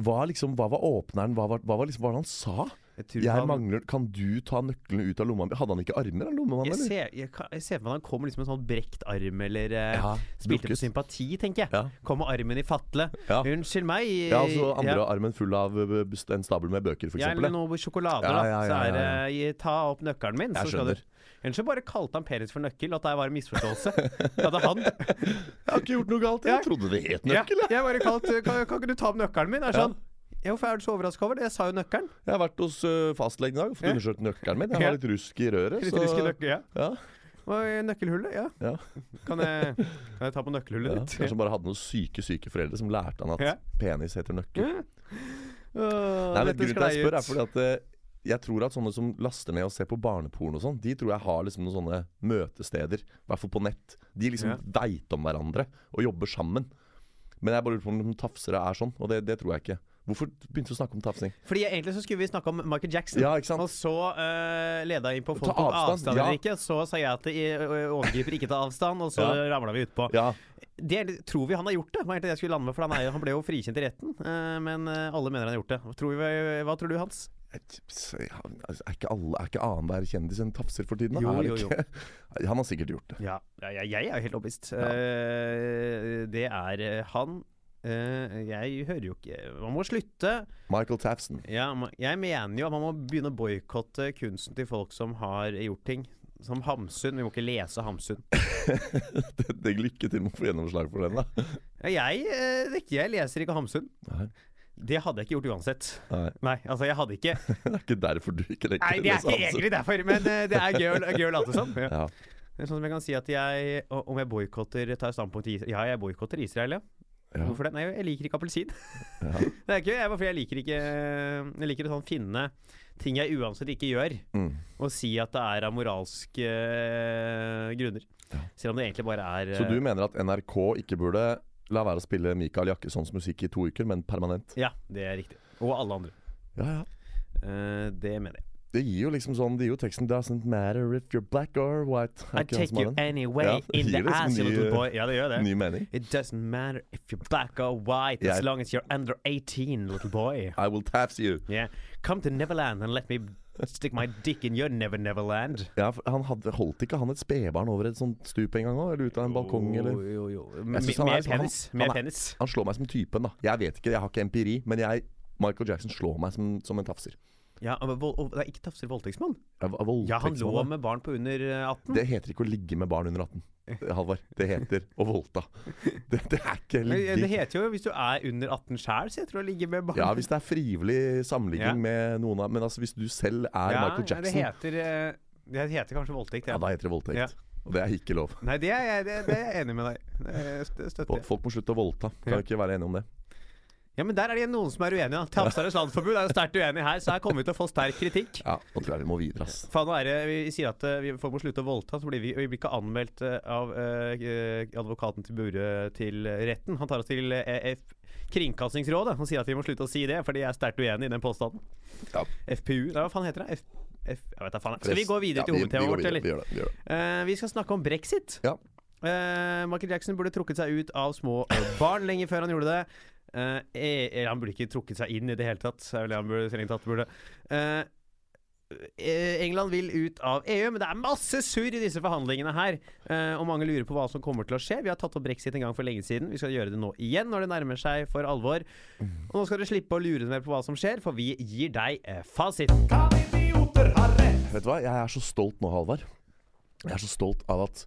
hva, liksom, hva var åpneren? Hva var, hva var, liksom, hva var det han sa?
Jeg tror
Jeg
han-
mangler Kan du ta nøklene ut av lomma mi? Hadde han ikke armer, han lommemannen,
jeg
eller?
ser, jeg, kan- jeg ser for meg at han kom liksom med en sånn brekt arm, eller eh,
Ja,
spilte på
brukket.
sympati, tenker jeg.
Ja.
Kom med armen i fatle.
Ja.
Unnskyld meg. eh,
Ja, altså andre
ja.
armen full av ø, best- en stabel med bøker, for
Ja, eller
eksempel.
noe sjokolade,
Ja,
da.
ja,
så
ja,
er det
ja,
eh, Ta opp nøkkelen min,
Jeg
så skal
skjønner.
du Ellers så bare kalte han penis for nøkkel, at det var en misforståelse. Da hadde han
Jeg har ikke gjort noe galt.
Ja.
Jeg trodde det het nøkkel.
Ja, jeg bare kalt, kan, kan ikke du ta opp nøkkelen min? Er sånn, ja, hvorfor er du så overraska over det? Jeg sa jo nøkkelen.
Jeg har vært hos ø, fastlegen i dag og fått
Ja.
undersøkt nøkkelen min. Jeg
Ja.
har litt rusk i røret.
Litt rusk i nøkkel, ja.
ja,
Og i nøkkelhullet, ja.
ja,
Kan jeg, kan jeg ta på
ja.
nøkkelhullet
Kanskje
ditt?
han bare hadde noen syke, syke foreldre som lærte han at
Ja.
penis heter nøkkel.
Åh,
Nei, men
dette
Grunnen til
sklei
at jeg spør, er
ut.
fordi at ø, jeg tror at sånne som laster ned og ser på barneporno og sånn, de tror jeg har liksom noen sånne møtesteder, i hvert fall på nett. De liksom
Ja.
veit om hverandre og jobber sammen. Men jeg bare lurer på om tafsere er sånn, og det, det tror jeg ikke. Hvorfor begynte du å snakke om tafsing?
Fordi Egentlig så skulle vi snakke om Michael Jackson.
Ja, ikke sant?
Og så uh, leda jeg inn på
Ta
folk tok
avstand,
avstand
ja.
eller ikke. Så sa jeg at det eh, overgriper ikke ta avstand, og så ramlet
Ja.
ramla vi utpå.
Ja,
Det er- tror vi han har gjort det, var egentlig det jeg skulle lande med, for han, er, jo- han ble jo frikjent i retten. eh, men eh, alle mener han har gjort det. Tror vi, hva tror du, Hans?
altså, Er ikke, alle, er ikke annenhver kjendis en tafser for tiden? da?
Jo,
er det
jo, jo.
ikke? Han har sikkert gjort det.
Ja, ja, ja, jeg er jo helt overbevist. Eh, det er eh, han Eh, Jeg hører jo ikke Man må slutte.
Michael Tafson.
Ja, ma- jeg mener jo at man må begynne å boikotte kunsten til folk som har gjort ting. Som Hamsun. Vi må ikke lese Hamsun.
Det- det- Lykke til med å få gjennomslag for den, da.
Ja, Jeg, eh, det er ikke- jeg leser ikke Hamsun.
Nei,
Det hadde jeg ikke gjort uansett.
nei.
Nei, altså jeg hadde ikke
Det er ikke derfor du ikke rekker
Nei, det er
å lese
ikke
Hamsun.
egentlig derfor, men eh, det er gøy, å- gøy å late som. Ja.
Ja.
Det er Sånn som jeg kan si at jeg og- Om jeg boikotter tar standpunkt til Israel Ja, jeg boikotter Israel, ja.
Ja.
Hvorfor det? Nei, jeg liker ikke appelsin.
Ja.
Det er ikke jeg, bare fordi jeg liker ikke Jeg liker å sånn finne ting jeg uansett ikke gjør,
Mm.
og si at det er av moralske eh, grunner. Selv om det egentlig bare er
Så
eh,
du mener at NRK ikke burde la være å spille Mikael Jakkessons musikk i to uker, men permanent?
Ja, det er riktig. Og alle andre.
Ja, ja.
Eh, det mener jeg.
Det gir jo liksom sånn Det gir jo teksten 'Doesn't matter if you're black or white'. Er
I
ikke han
take
som har
you
den?
anyway
Ja, det
in the
gir liksom
ass, you
ny-
little boy. Ja, det gjør det.
Ny mening.
It doesn't matter if you're black or white, as
Jeg-
long as you're under 18, little boy.
I will tafs you.
Yeah. Come to Neverland and let me stick my dick in your Never Neverland.
Ja, for han hadde, Holdt ikke han et spedbarn over et sånt stup en gang òg? Eller ut av en balkong, eller?
Jo, jo, jo.
Jeg synes han er
Mer
liksom- han-
penis.
han
Mer
er-
penis.
Han slår meg som typen, da. Jeg vet ikke, jeg har ikke empiri, men jeg Michael Jackson slår meg som, som en tafser.
Ja, og, vold- og, det er ikke tafser voldtektsmann.
Jeg var voldtektsmann,
Ja, han lå
da.
med barn på under eh, 18.
Det heter ikke å ligge med barn under 18. Halvard. Det heter å voldta. Det, det er ikke
Men, eh, det
ligging.
heter jo hvis du er under 18 sjæl, så heter det å ligge med barn.
Ja, hvis det er frivillig samligging
Ja.
med noen av Men altså, hvis du selv er
Ja,
Michael
ja,
Jackson,
Det heter, eh, det heter kanskje voldtekt,
ja,
ja.
da heter det voldtekt.
Ja.
Og det er ikke lov.
Nei, det er, jeg- det, det er jeg enig med deg Det er- Det støtter
Folk
jeg.
folk må slutte å voldta. Kan
Ja.
vi ikke være enige om det.
Ja, men der er det noen som er uenige. da. Tafsernes Landsforbund er jo sterkt uenig her, så her kommer vi til å få sterk kritikk.
Ja, Nå tror jeg vi må videre, ass.
Faen, nå er det, vi sier at eh, vi folk må slutte å voldta, så blir vi, vi blir ikke anmeldt eh, av eh, eh, advokaten til Bure til retten. Han tar oss til eh, F Kringkastingsrådet. Han sier at vi må slutte å si det, fordi jeg er sterkt uenig i den påstanden.
Ja.
FPU Nei, hva faen heter det? F F jeg vet da faen. Skal
Press.
vi gå videre
Ja,
til
vi- vi
hovedtemaet
går
vårt,
videre,
eller?
Vi gjør det. Vi gjør det.
Eh, vi skal snakke om brexit.
Ja.
Eh, Michael Jackson burde trukket seg ut av små barn lenge før han gjorde det. Eh, eh, eller han burde ikke trukket seg inn i det hele tatt. Det er vel det han burde, strengt tatt burde. Eh, eh, England vil ut av EU, men det er masse surr i disse forhandlingene her. Eh, og mange lurer på hva som kommer til å skje. Vi har tatt opp brexit en gang for lenge siden. Vi skal gjøre det nå igjen når det nærmer seg for alvor. Og nå skal dere slippe å lure mer på hva som skjer, for vi gir deg eh, fasit.
Vet du hva, jeg er så stolt nå, Halvard. Jeg er så stolt av at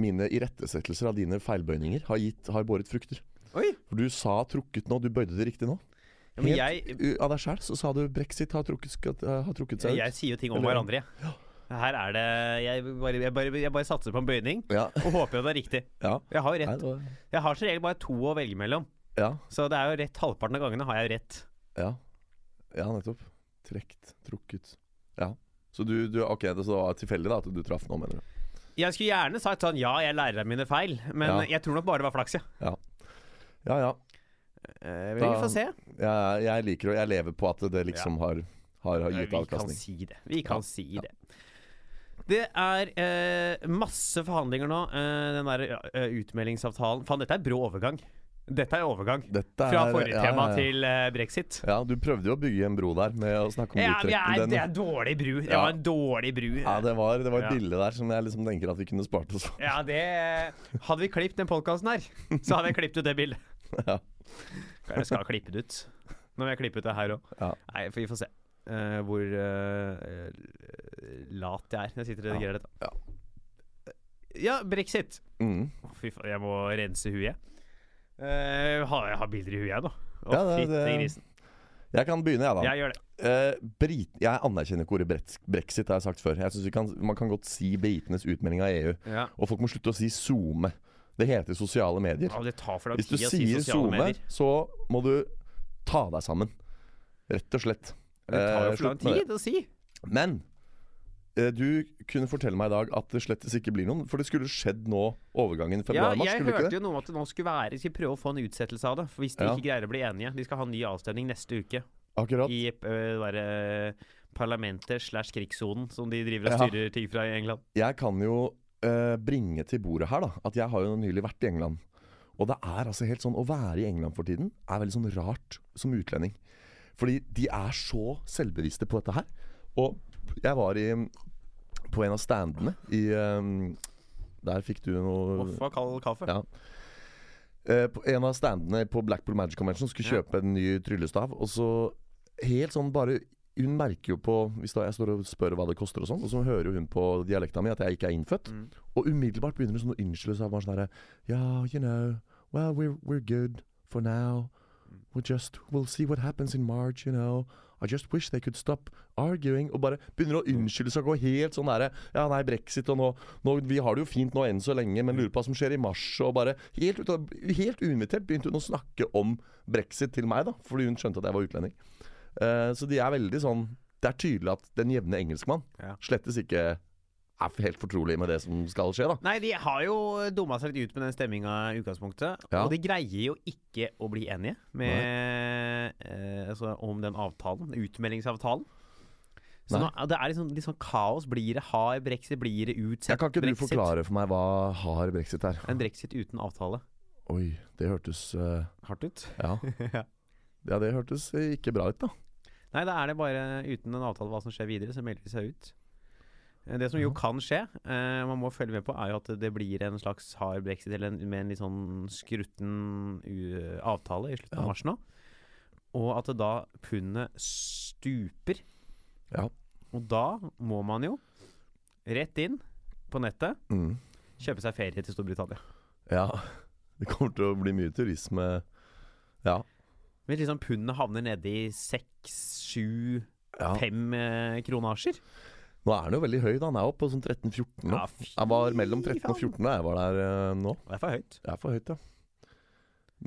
mine irettesettelser av dine feilbøyninger har, gitt, har båret frukter.
Oi!
For du sa 'trukket' nå, du bøyde det riktig nå.
Ja, men
Helt
jeg,
u- av deg sjæl så sa du 'brexit har trukket, skal, har trukket seg ut'.
jeg sier jo ting om
Eller-
hverandre, jeg. Her er det Jeg bare, jeg bare, jeg bare satser på en bøyning.
Ja.
Og håper jo det er riktig.
Ja.
Jeg har jo
Nei,
rett.
det var-
Jeg har som regel bare to å velge mellom.
ja.
Så det er jo rett halvparten av gangene har jeg jo rett.
Ja, ja nettopp. Trekt, trukket. Ja. Så du, du Ok, det så det var tilfeldig da at du traff nå, mener du?
Jeg skulle gjerne sagt sånn ja, jeg lærer av mine feil, men
Ja.
jeg tror nok bare det var flaks, ja.
Ja ja.
Eh, vi
Da-
får se.
Jeg, jeg liker og jeg lever på at det liksom har, har, har
vi
gitt
kan
avkastning.
si det. Vi kan
Ja,
si det. Det er eh, masse forhandlinger nå. Eh, den der eh, utmeldingsavtalen Faen, dette er brå overgang. Dette er overgang.
Dette
Fra
er-
forrige
ja,
tema
ja, ja.
til eh, brexit.
Ja, du prøvde jo å bygge en bro der med å snakke om
Ja, vi
uttrekken.
er,
Den-
det er dårlig bru. Det
Ja.
var en dårlig bru.
ja, det var, det var et
Ja.
bilde der som jeg liksom tenker at vi kunne spart oss for.
Ja, det Hadde vi klippet den podkasten her, så hadde jeg klippet ut det bildet.
Ja.
Jeg skal klippe det ut. Nå må jeg klippe ut det her òg.
Ja.
Nei, for vi får se eh, hvor eh, lat jeg er når jeg sitter og redigerer dette.
Ja.
Ja, brexit.
Mm.
Å, Fy faen, jeg må rense huet. Eh, har, jeg har bilder i huet, jeg, nå. Å,
Ja, det-
fytte
det-
grisen.
Jeg kan begynne, jeg, da.
Jeg gjør det.
Eh, Brit jeg anerkjenner ikke ordet brets- brexit, det har jeg sagt før. Jeg synes vi kan, Man kan godt si britenes utmelding av E EU.
Ja.
Og folk må slutte å si SoMe. Det heter sosiale medier.
Ja, det tar for lang
Hvis du
tid å si
sier
sosiale
SoMe,
medier.
så må du ta deg sammen. Rett og slett.
Det tar
Eh,
jo for lang
slutt med det.
tid å si.
Men eh, du kunne fortelle meg i dag at det slettes ikke blir noen. For det skulle skjedd nå overgangen
Ja,
februar-mars,
jeg
skulle det
hørte
ikke det?
jo noe om at det nå skulle være De skulle prøve å få en utsettelse av det. For Hvis de
Ja.
ikke greier å bli enige. De skal ha en ny avstemning neste uke
Akkurat.
i ø, det derre eh, parlamentet slash krigssonen som de driver og
Ja.
styrer ting fra i England.
Jeg kan jo eh, bringe til bordet her da at jeg har jo nylig vært i England. Og det er altså helt sånn Å være i England for tiden er veldig sånn rart som utlending. Fordi de er så selvbevisste på dette her. Og jeg var i på en av standene i eh, Der fikk du noe
Voff og kald kaffe.
Mm. Ja. Eh, på en av standene på Blackpool Magic Convention skulle
Ja.
kjøpe en ny tryllestav. Og så helt sånn bare Hun merker jo på Hvis da jeg står og spør hva det koster, og sånn, og så hører jo hun på dialekta mi at jeg ikke er innfødt. Og umiddelbart begynner hun sånn å unnskylde seg. Bare sånn derre Ja, you know. Well, we're, we're good for now. We just We'll see what happens in March, you know. I just wish they could stop arguing. Og bare begynner å unnskylde seg og gå helt sånn derre Ja, nei, brexit og nå, nå Vi har det jo fint nå enn så lenge, men lurer på hva som skjer i mars. Og bare helt, ut av, helt uinvitert begynte hun å snakke om brexit til meg, da. Fordi hun skjønte at jeg var utlending. Eh, så de er veldig sånn Det er tydelig at den jevne engelskmann
Ja.
slettes ikke er helt fortrolig med det som skal skje, da.
Nei, de har jo dumma seg litt ut med den stemminga i utgangspunktet.
Ja.
Og de greier jo ikke å bli enige med, eh, altså, om den avtalen, utmeldingsavtalen. Så
Nei.
nå, det er litt sånn, litt sånn kaos. Blir det hard brexit? Blir det utsatt
Ja, kan ikke du
brexit?
forklare for meg hva har brexit er?
En brexit uten avtale.
Oi, det hørtes eh,
Hardt ut.
ja.
Ja.
ja, det hørtes eh, ikke bra ut, da.
Nei, da er det bare uten en avtale hva som skjer videre, så melder de seg ut. Eh, Det som jo kan skje, eh, man må følge med på, er jo at det blir en slags hard brexit eller en, med en litt sånn skrutten u- avtale i slutten
Ja.
av mars nå. Og at det da pundet stuper.
Ja.
Og da må man jo rett inn på nettet,
Mm.
kjøpe seg ferie til Storbritannia.
Ja. Det kommer til å bli mye turisme. Ja.
Hvis liksom pundet havner nede i seks, sju,
ja.
fem eh, kronasjer
Nå er den jo veldig høy, da. Den er oppe på sånn 13-14 nå.
Ja, fy
Jeg var mellom 13 og
faen.
14 da jeg var der eh, nå.
Det er for høyt.
Det er for høyt, ja.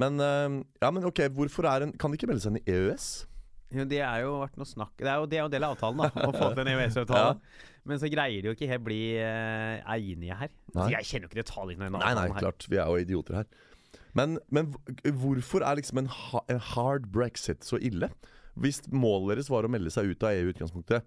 Men, eh, ja, men ok, hvorfor er en Kan de ikke melde seg inn i E EØS?
Jo, det er jo vært noe snakk Det er jo det er jo en del av avtalen, da. Å få til en EØS-avtale. Men så greier de jo ikke helt bli eh, enige her.
Nei.
Så jeg kjenner jo ikke detaljene i denne
Nei, nei,
avtalen her.
klart. Vi er jo idioter her. Men, men hv- hvorfor er liksom en, ha en hard brexit så ille? Hvis målet deres var å melde seg ut av EU i utgangspunktet,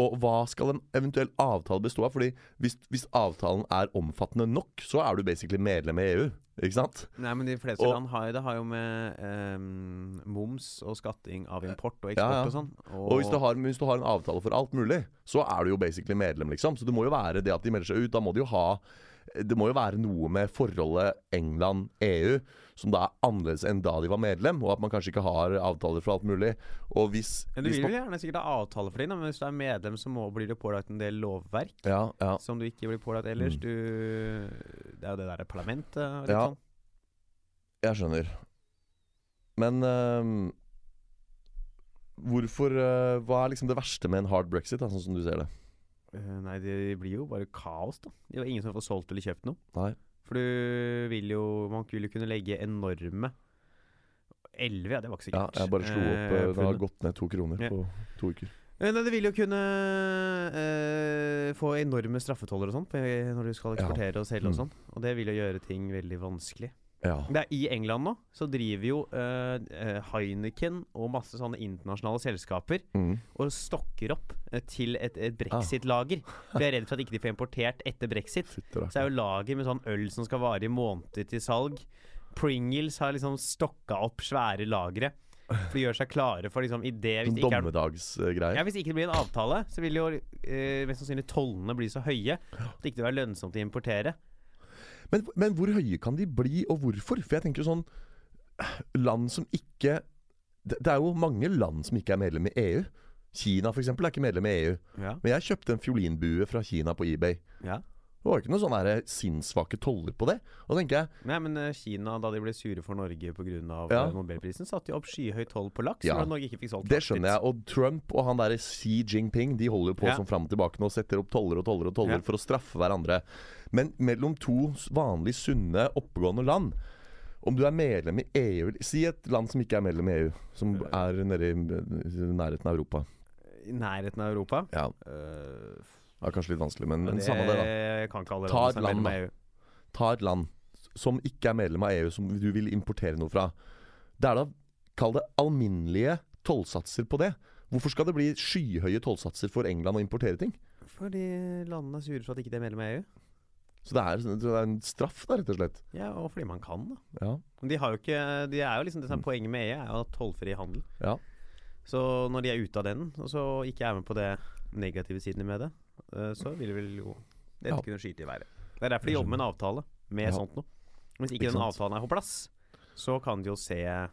og hva skal en eventuell avtale bestå av? Fordi hvis, hvis avtalen er omfattende nok, så er du basically medlem i EU. Ikke sant?
Nei, men de fleste
Og-
land har, det har jo med ehm, moms og skatting av import og eksport
Ja, ja.
og sånn.
Og hvis du, har, hvis du har en avtale for alt mulig, så er du jo basically medlem, liksom. Så det må jo være det at de melder seg ut. Da må de jo ha Det må jo være noe med forholdet England-EU som da er annerledes enn da de var medlem, og at man kanskje ikke har avtaler for alt mulig. Og hvis,
men du
hvis
vil
man-
jo gjerne sikkert ha avtale for dem, da, men hvis du er medlem, så må, blir du pålagt en del lovverk
ja, ja. Mm.
som du ikke blir pålagt ellers. Du, det er jo det derre parlamentet og litt
Ja.
sånn.
Jeg skjønner. Men øhm, hvorfor øh, Hva er liksom det verste med en hard brexit, da, sånn som du ser det?
Eh, nei, det blir jo bare kaos, da. Det er jo ingen som får solgt eller kjøpt noe.
Nei.
For du vil jo Man vil jo kunne legge enorme Elleve, ja, det var ikke
Ja,
sikkert.
jeg bare slo
eh,
opp. øh, det har
funnet.
gått ned to kroner
Ja.
på to uker.
Eh, Nei, det vil jo kunne eh, få enorme straffetoller og sånn på- når du skal
Ja.
eksportere og selge og
Mm.
sånn. Og det vil jo gjøre ting veldig vanskelig.
Ja.
Det er I England nå så driver jo eh, eh, Heineken og masse sånne internasjonale selskaper
Mm.
og stokker opp eh, til et, et brexit-lager. For de er redd for at ikke de får importert etter brexit.
Ah. Fytti rakkeren.
Så er jo lager med sånn øl som skal vare i måneder til salg. Pringles har liksom stokka opp svære lagre. For de gjør seg klare for liksom i det hvis
Sånn
det ikke er
dommedagsgreier.
ja, Hvis ikke det blir en avtale, så vil jo eh, mest sannsynlig tollene bli så høye at det ikke vil være lønnsomt å importere.
Men, men hvor høye kan de bli, og hvorfor? For jeg tenker jo sånn Land som ikke det, det er jo mange land som ikke er medlem i EU. Kina for eksempel, er ikke medlem i EU.
Ja.
Men jeg kjøpte en fiolinbue fra Kina på eBay.
Ja.
Det var jo ikke noen sånne her eh, sinnssvake toller på det. Og da tenker jeg
Nei, men eh, Kina, da de ble sure for Norge pga.
Ja.
Ja. eh, Nobelprisen, satte jo opp skyhøy toll på laks,
Ja.
ja. Norge ikke fikk solgt
Det skjønner jeg. Og Trump og han derre Xi Jinping De holder jo på
Ja.
som fram og tilbake nå og setter opp toller og toller og toller
Ja.
for å straffe hverandre. Men mellom to s- vanlig sunne, oppegående land Om du er medlem i EU Si et land som ikke er medlem i EU, som er nede i i nærheten av Europa.
I nærheten av Europa.
Ja,
Eh,
det er kanskje litt vanskelig, men, men
det-
samme det, da.
Jeg kan ikke alle
Ta
land
et
som er
land,
medlem
da.
av E EU.
Ta et land som ikke er medlem av EU, som du vil importere noe fra. Det er da Kall det alminnelige tollsatser på det. Hvorfor skal det bli skyhøye tollsatser for England å importere ting?
Fordi landene er sure for at ikke de er medlem av E EU.
Så det er, liksom, det er en straff, da, rett og slett.
Ja, og fordi man kan, da.
Ja.
Men De har jo ikke de er jo liksom, det som
Mm.
er Poenget med EU er jo at tollfri handel.
Ja.
Så når de er ute av den, og så ikke er med på det negative sidene med det, eh, så vil de vel jo dette
Ja.
kunne skyte i været. Det er derfor de jobber med en avtale med
Ja.
sånt noe. Hvis
Ikke
ikke den
sant?
avtalen er på plass, så kan de jo se
ja.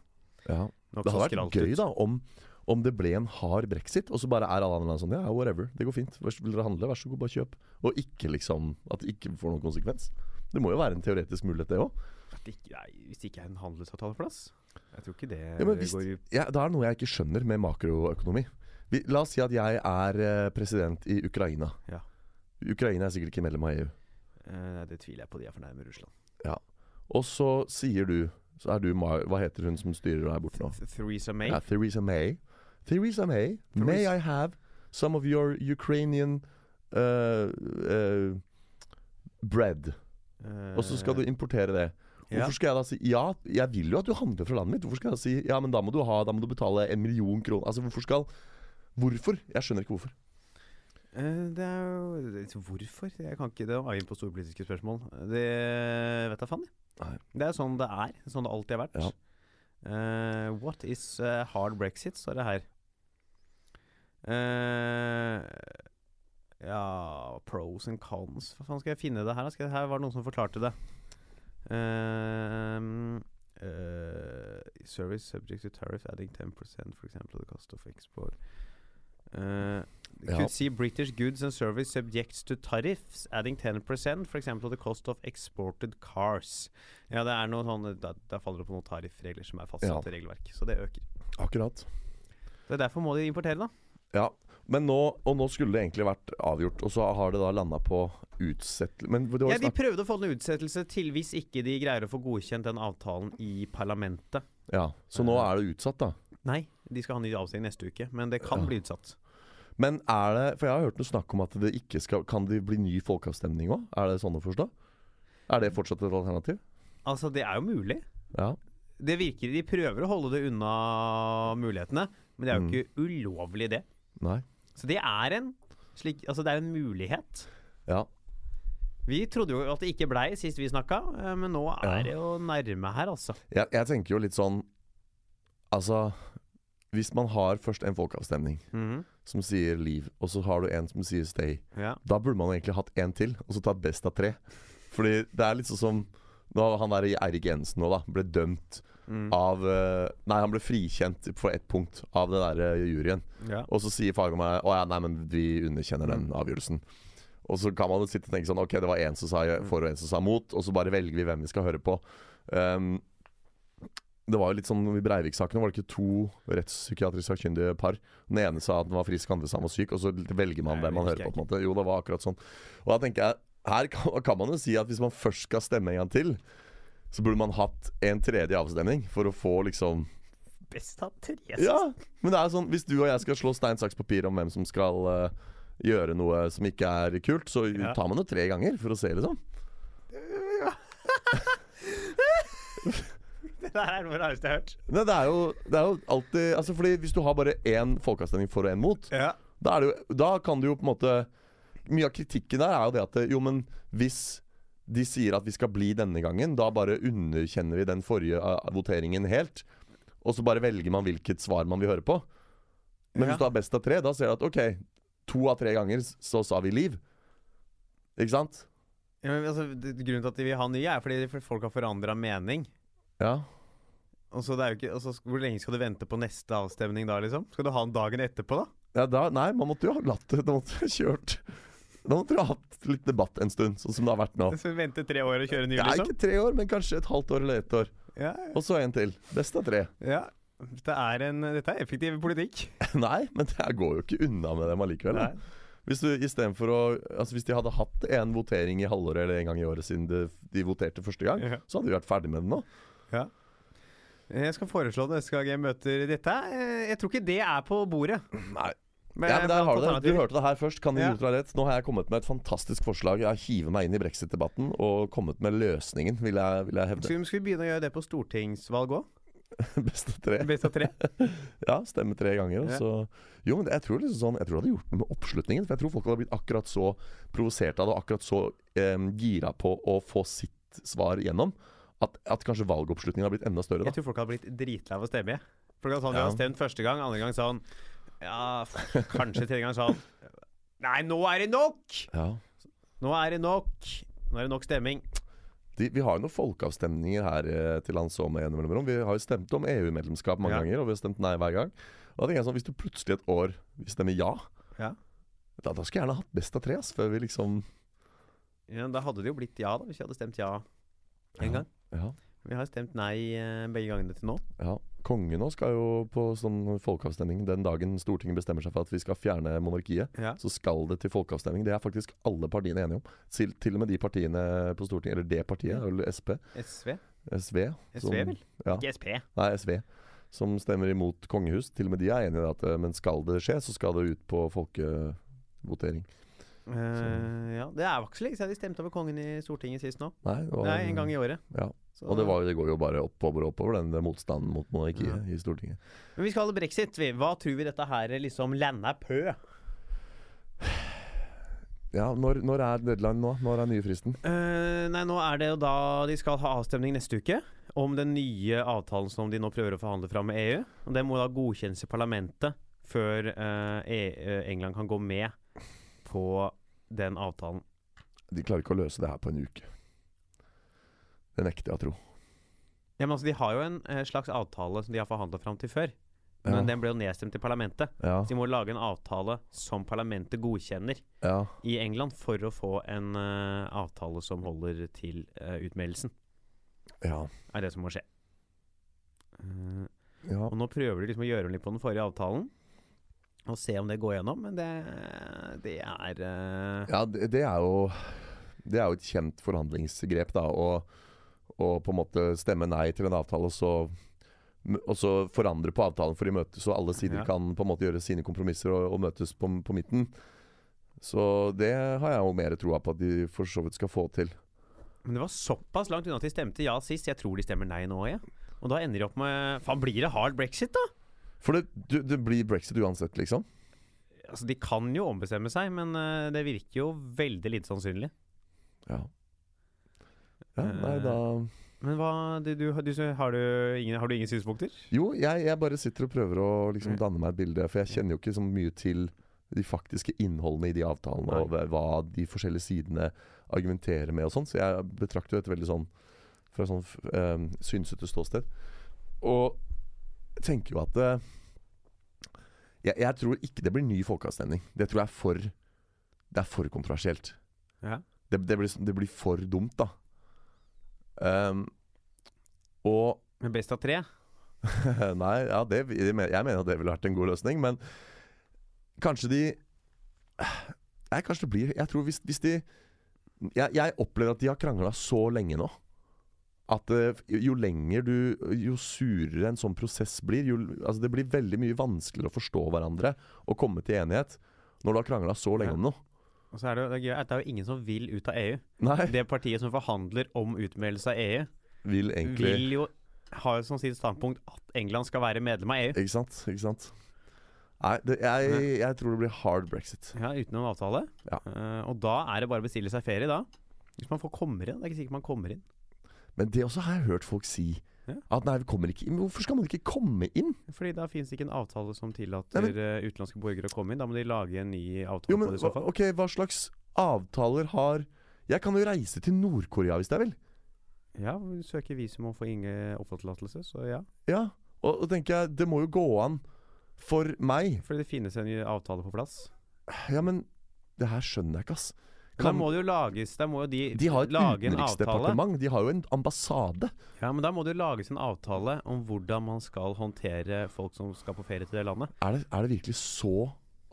Det
nokså
hadde vært
skralt
gøy
ut.
da om, om det ble en hard brexit, og så bare er alle andre land sånn Ja, whatever, det går fint. Vær så, vil dere handle, vær så god, bare kjøp. Og ikke liksom At det ikke får noen konsekvens. Det må jo være en teoretisk mulighet, det òg.
At det ikke, nei, hvis det ikke er en handelsavtale på plass. Jeg tror ikke det
Ja, men hvis-
går i
Ja, det er noe jeg ikke skjønner med makroøkonomi. Vi, la oss si at jeg er eh, president i Ukraina.
Ja.
Ukraina er sikkert ikke medlem av E EU.
eh, Det tviler jeg på, de er for nærme Russland.
Og så sier du Så er du Ma... Hva heter hun som styrer der borte nå?
Th- Theresa May.
Ja, Uh, Theresa May. Theresa May, may
Theresa-
I have some of your Ukrainian uh, uh, bread? Og så skal du importere det.
eh, ja.
Hvorfor skal jeg da si ja, jeg vil jo at du handler fra landet mitt. Hvorfor skal jeg si ja, men da må du, ha, da må du betale en million kroner? Altså, hvorfor skal Hvorfor? Jeg skjønner ikke hvorfor.
Eh, Det er jo det- Hvorfor? Jeg kan ikke det å ha inn på storpolitiske spørsmål. Det vet jeg faen,
Nei.
jeg. Det er sånn det er. Sånn det alltid har vært.
Ja.
Eh, what is eh, hard brexit, står det her. Eh, ja Pros and cons. Hva faen skal jeg finne det her? da? Skal jeg, her var det noen som forklarte det. Eh, eh, service subject to tariff adding 10% for example the cost of export. Eh,
Ja.
Could see British goods and service subjects to tariffs, adding 10%, for example the cost of exported cars. Ja, det er noe sånn da, da faller det på noen tariffregler som er fastsatt
Ja.
i regelverk, så det øker.
Akkurat.
Det er derfor må de importere, da.
Ja. Men nå, og nå skulle det egentlig vært avgjort, og så har det da landa på utsettelse Men det var
Ja,
jo
De
snakk
prøvde å få en utsettelse til hvis ikke de greier å få godkjent den avtalen i parlamentet.
Ja. Så
Eh.
nå er det utsatt, da.
Nei, de skal ha ny avstemning neste uke, men det kan
Ja.
bli utsatt.
Men er det For jeg har hørt noe snakk om at det ikke skal Kan det bli ny folkeavstemning òg? Er det sånn å forstå? Er det fortsatt et alternativ?
Altså, det er jo mulig.
Ja.
Det virker De prøver å holde det unna mulighetene, men
Mm.
det er jo ikke ulovlig, det.
Nei.
Så det er en slik Altså, det er en mulighet.
Ja.
Vi trodde jo at det ikke blei sist vi snakka, eh, men nå
Ja.
er det jo nærme her, altså.
Jeg, jeg tenker jo litt sånn Altså, hvis man har først en folkeavstemning
Mhm.
som sier leave, og så har du en som sier stay,
Ja.
da burde man egentlig hatt en til, og så tatt best av tre. Fordi det er litt sånn som da han der Eirik Jensen nå, da, ble dømt
Mm.
av eh, Nei, han ble frikjent på ett punkt av den der eh, juryen.
ja. Mm.
Og så sier fagdommerne Å ja, nei, men vi underkjenner den avgjørelsen. Og så kan man jo sitte og tenke sånn Ok, det var én som sa for og én som sa mot, og så bare velger vi hvem vi skal høre på. Um, det var jo litt sånn I Breivik-sakene var det ikke to rettspsykiatrisk sakkyndige par. Den ene sa at den var frisk, den andre sa den var syk, og så velger man
Nei,
hvem man
det husker
hører på.
jeg
på en måte Jo, det var akkurat sånn. Og da tenker jeg her kan, kan man jo si at hvis man først skal stemme en gang til, så burde man hatt en tredje avstemning for å få liksom
Best av tre.
ja, men det er sånn Hvis du og jeg skal slå stein, saks, papir om hvem som skal eh, gjøre noe som ikke er kult, så
Ja.
tar man det tre ganger for å se, liksom.
Det der er noe av det rareste jeg har hørt.
Nei, det, er jo, det er jo alltid Altså fordi Hvis du har bare én folkeavstemning for og én mot,
Ja.
da, er det jo, da kan du jo på en måte Mye av kritikken der er jo det at Jo, men hvis de sier at vi skal bli denne gangen, da bare underkjenner vi den forrige eh, voteringen helt. Og så bare velger man hvilket svar man vil høre på. Men
Ja.
hvis du har best av tre, da ser du at OK, to av tre ganger s- så sa vi liv. Ikke sant?
Ja, men altså, det- grunnen til at de vil ha nye, er fordi for- folk har forandra mening.
Ja.
Og så det er jo ikke, og så sk- Hvor lenge skal du vente på neste avstemning da, liksom? Skal du ha den dagen etterpå, da?
ja da, nei, man måtte jo ha latt det. Da måtte vi ha kjørt. Da måtte vi ha hatt litt debatt en stund, sånn som det har vært nå.
Så vente tre år og kjøre ny,
Ja,
liksom?
ikke tre år, men kanskje et halvt år eller ett år.
Ja,
Og så en til. Best av tre.
ja. Det er en, dette er effektiv politikk.
Nei, men det her går jo ikke unna med dem allikevel. da.
Nei.
Hvis, du, i stedet for å, altså hvis de hadde hatt en votering i halvåret eller en gang i året siden de, de voterte første gang,
Ja.
så hadde vi vært ferdig med det nå.
Jeg skal foreslå det neste gang jeg møter dette. Eh, Jeg tror ikke det er på bordet.
Nei. Ja, men der har du det. Du hørte det her først. Kan
Ja.
idioter ha rett? Nå har jeg kommet med et fantastisk forslag. Jeg hiver meg inn i brexit-debatten og kommet med løsningen, vil jeg, vil jeg hevde.
Skulle vi begynne å gjøre det på stortingsvalg òg?
Best av tre.
Best av tre?
Ja, stemme tre ganger. Og
Ja.
så. Jo, men jeg tror, liksom sånn, jeg tror det hadde gjort noe med oppslutningen. For jeg tror folk hadde blitt akkurat så provosert av det, og akkurat så eh, gira på å få sitt svar gjennom, at, at kanskje valgoppslutningen hadde blitt enda større.
Jeg
da
tror folk hadde blitt dritlei av å stemme. jeg. Folk hadde sånn,
Ja.
de hadde stemt første gang, andre gang sånn Ja, f- kanskje tredje gang sånn Nei, nå er det nok!
Ja.
Nå er det nok! Nå er det nok stemming.
De, vi har jo noen folkeavstemninger her eh, til lands om igjen mellomrom. Vi har jo stemt om EU-medlemskap mange
Ja.
ganger, og vi har stemt nei hver gang. Og da tenker jeg sånn, Hvis du plutselig et år vil stemme ja,
Ja.
da, da skulle jeg gjerne hatt best av tre. ass, før vi liksom
Ja, da hadde det jo blitt ja, da, hvis vi hadde stemt ja en
Ja.
gang.
Ja,
Vi har stemt nei eh, begge gangene til nå.
ja. Kongen nå skal jo på sånn folkeavstemning den dagen Stortinget bestemmer seg for at vi skal fjerne monarkiet.
Ja.
Så skal det til folkeavstemning. Det er faktisk alle partiene enige om. Til, til og med de partiene på Stortinget, eller det partiet,
Ja.
eller SP.
SV?
SV.
SV,
som-
vel?
Ja.
Ikke SP.
Nei, SV, som stemmer imot kongehus. Til og med de er enige i at eh, men skal det skje, så skal det ut på folkevotering.
Eh, ja, Det er jo ikke så lenge siden de stemte over kongen i Stortinget sist nå.
Nei, det var-
Nei, en gang i året.
Ja.
Så-
Og det, var, jo- det går jo bare oppover og oppover, den motstanden mot monarkiet i Stortinget.
Men vi skal ha brexit. Vi. Hva tror vi dette her liksom lander på?
Ja, når, når er deadline nå? Når er nye fristen?
Eh, nei, nå er det jo da de skal ha avstemning neste uke om den nye avtalen som de nå prøver å forhandle fram med EU. Og Den må da godkjennes i parlamentet før eh, E- eh, England kan gå med på den avtalen.
De klarer ikke å løse det her på en uke. Det nekter jeg å tro.
Ja, men altså, De har jo en eh, slags avtale som de har forhandla fram til før. Men
Ja.
den ble jo nedstemt i parlamentet.
Ja,
Så de må lage en avtale som parlamentet godkjenner
ja.
i England for å få en eh, avtale som holder til eh, utmeldelsen.
ja.
Er det som må skje. Eh,
ja.
Og nå prøver de liksom å gjøre om litt på den forrige avtalen. Og se om det går gjennom, men det, det er eh,
Ja, det, det er jo Det er jo et kjent forhandlingsgrep, da. Å å på en måte stemme nei til en avtale, og så og så forandre på avtalen for i møte, så alle sider
Ja.
kan på en måte gjøre sine kompromisser og, og møtes på, på midten. Så det har jeg jo mer troa på at de for så vidt skal få til.
Men det var såpass langt unna at de stemte ja sist. Jeg tror de stemmer nei nå òg, jeg. Og da ender de opp med Faen, blir det hard brexit, da?
For det, du, det blir brexit uansett, liksom.
Altså, De kan jo ombestemme seg, men eh, det virker jo veldig lite sannsynlig.
Ja. ja nei, da
Men hva, du, du, du, har, du ingen, har du ingen synspunkter?
Jo, jeg, jeg bare sitter og prøver å liksom
Mm.
danne meg et bilde, for jeg kjenner jo ikke så mye til de faktiske innholdene i de avtalene og hva de forskjellige sidene argumenterer med og sånn, så jeg betrakter jo dette veldig sånn fra sånn f- eh, synsete ståsted. Og tenker jo at eh, jeg, jeg tror ikke det blir ny folkeavstemning. Det tror jeg er for Det er for kontroversielt.
Ja.
Det, det, blir, det blir for dumt, da. Ehm, og
Men Best av tre?
Nei, ja, det, jeg mener at det ville vært en god løsning, men kanskje de Nei, kanskje det blir Jeg tror hvis, hvis de jeg, jeg opplever at de har krangla så lenge nå. At eh, jo lenger du Jo surere en sånn prosess blir, jo, altså det blir veldig mye vanskeligere å forstå hverandre og komme til enighet når du har krangla så lenge om noe.
Og så er det, jo- det, er gøy at det er jo ingen som vil ut av EU.
Nei,
Det partiet som forhandler om utmeldelse av EU,
vil egentlig
vil jo ha som sitt standpunkt at England skal være medlem av E EU.
Ikke sant? Ikke sant? Nei, det, jeg, jeg tror det blir hard brexit.
Ja, uten noen avtale.
Ja.
Eh, og da er det bare å bestille seg ferie, da. Hvis man får kommer inn. Det er ikke sikkert man kommer inn.
Men det også har jeg hørt folk si.
Ja.
At nei, vi kommer ikke inn. Men Hvorfor skal man ikke komme inn?
Fordi da fins ikke en avtale som tillater
Nei, men-
eh, utenlandske borgere å komme inn. Da må de lage en ny avtale
Jo, men
på det i så
hva-
fall.
ok, Hva slags avtaler har Jeg kan jo reise til Nord-Korea hvis jeg vil.
Ja, vi søker visum og får ingen oppholdstillatelse, så ja.
Ja, og, og tenker jeg, det må jo gå an for meg.
Fordi det finnes en ny avtale på plass.
Ja, men det her skjønner jeg ikke, ass.
Men da
Kan-
må det jo lages Da må jo de,
de har et
lage en avtale.
utenriksdepartement. De har jo en ambassade.
Ja, men da må det jo lages en avtale om hvordan man skal håndtere folk som skal på ferie til det landet.
Er det, er det virkelig så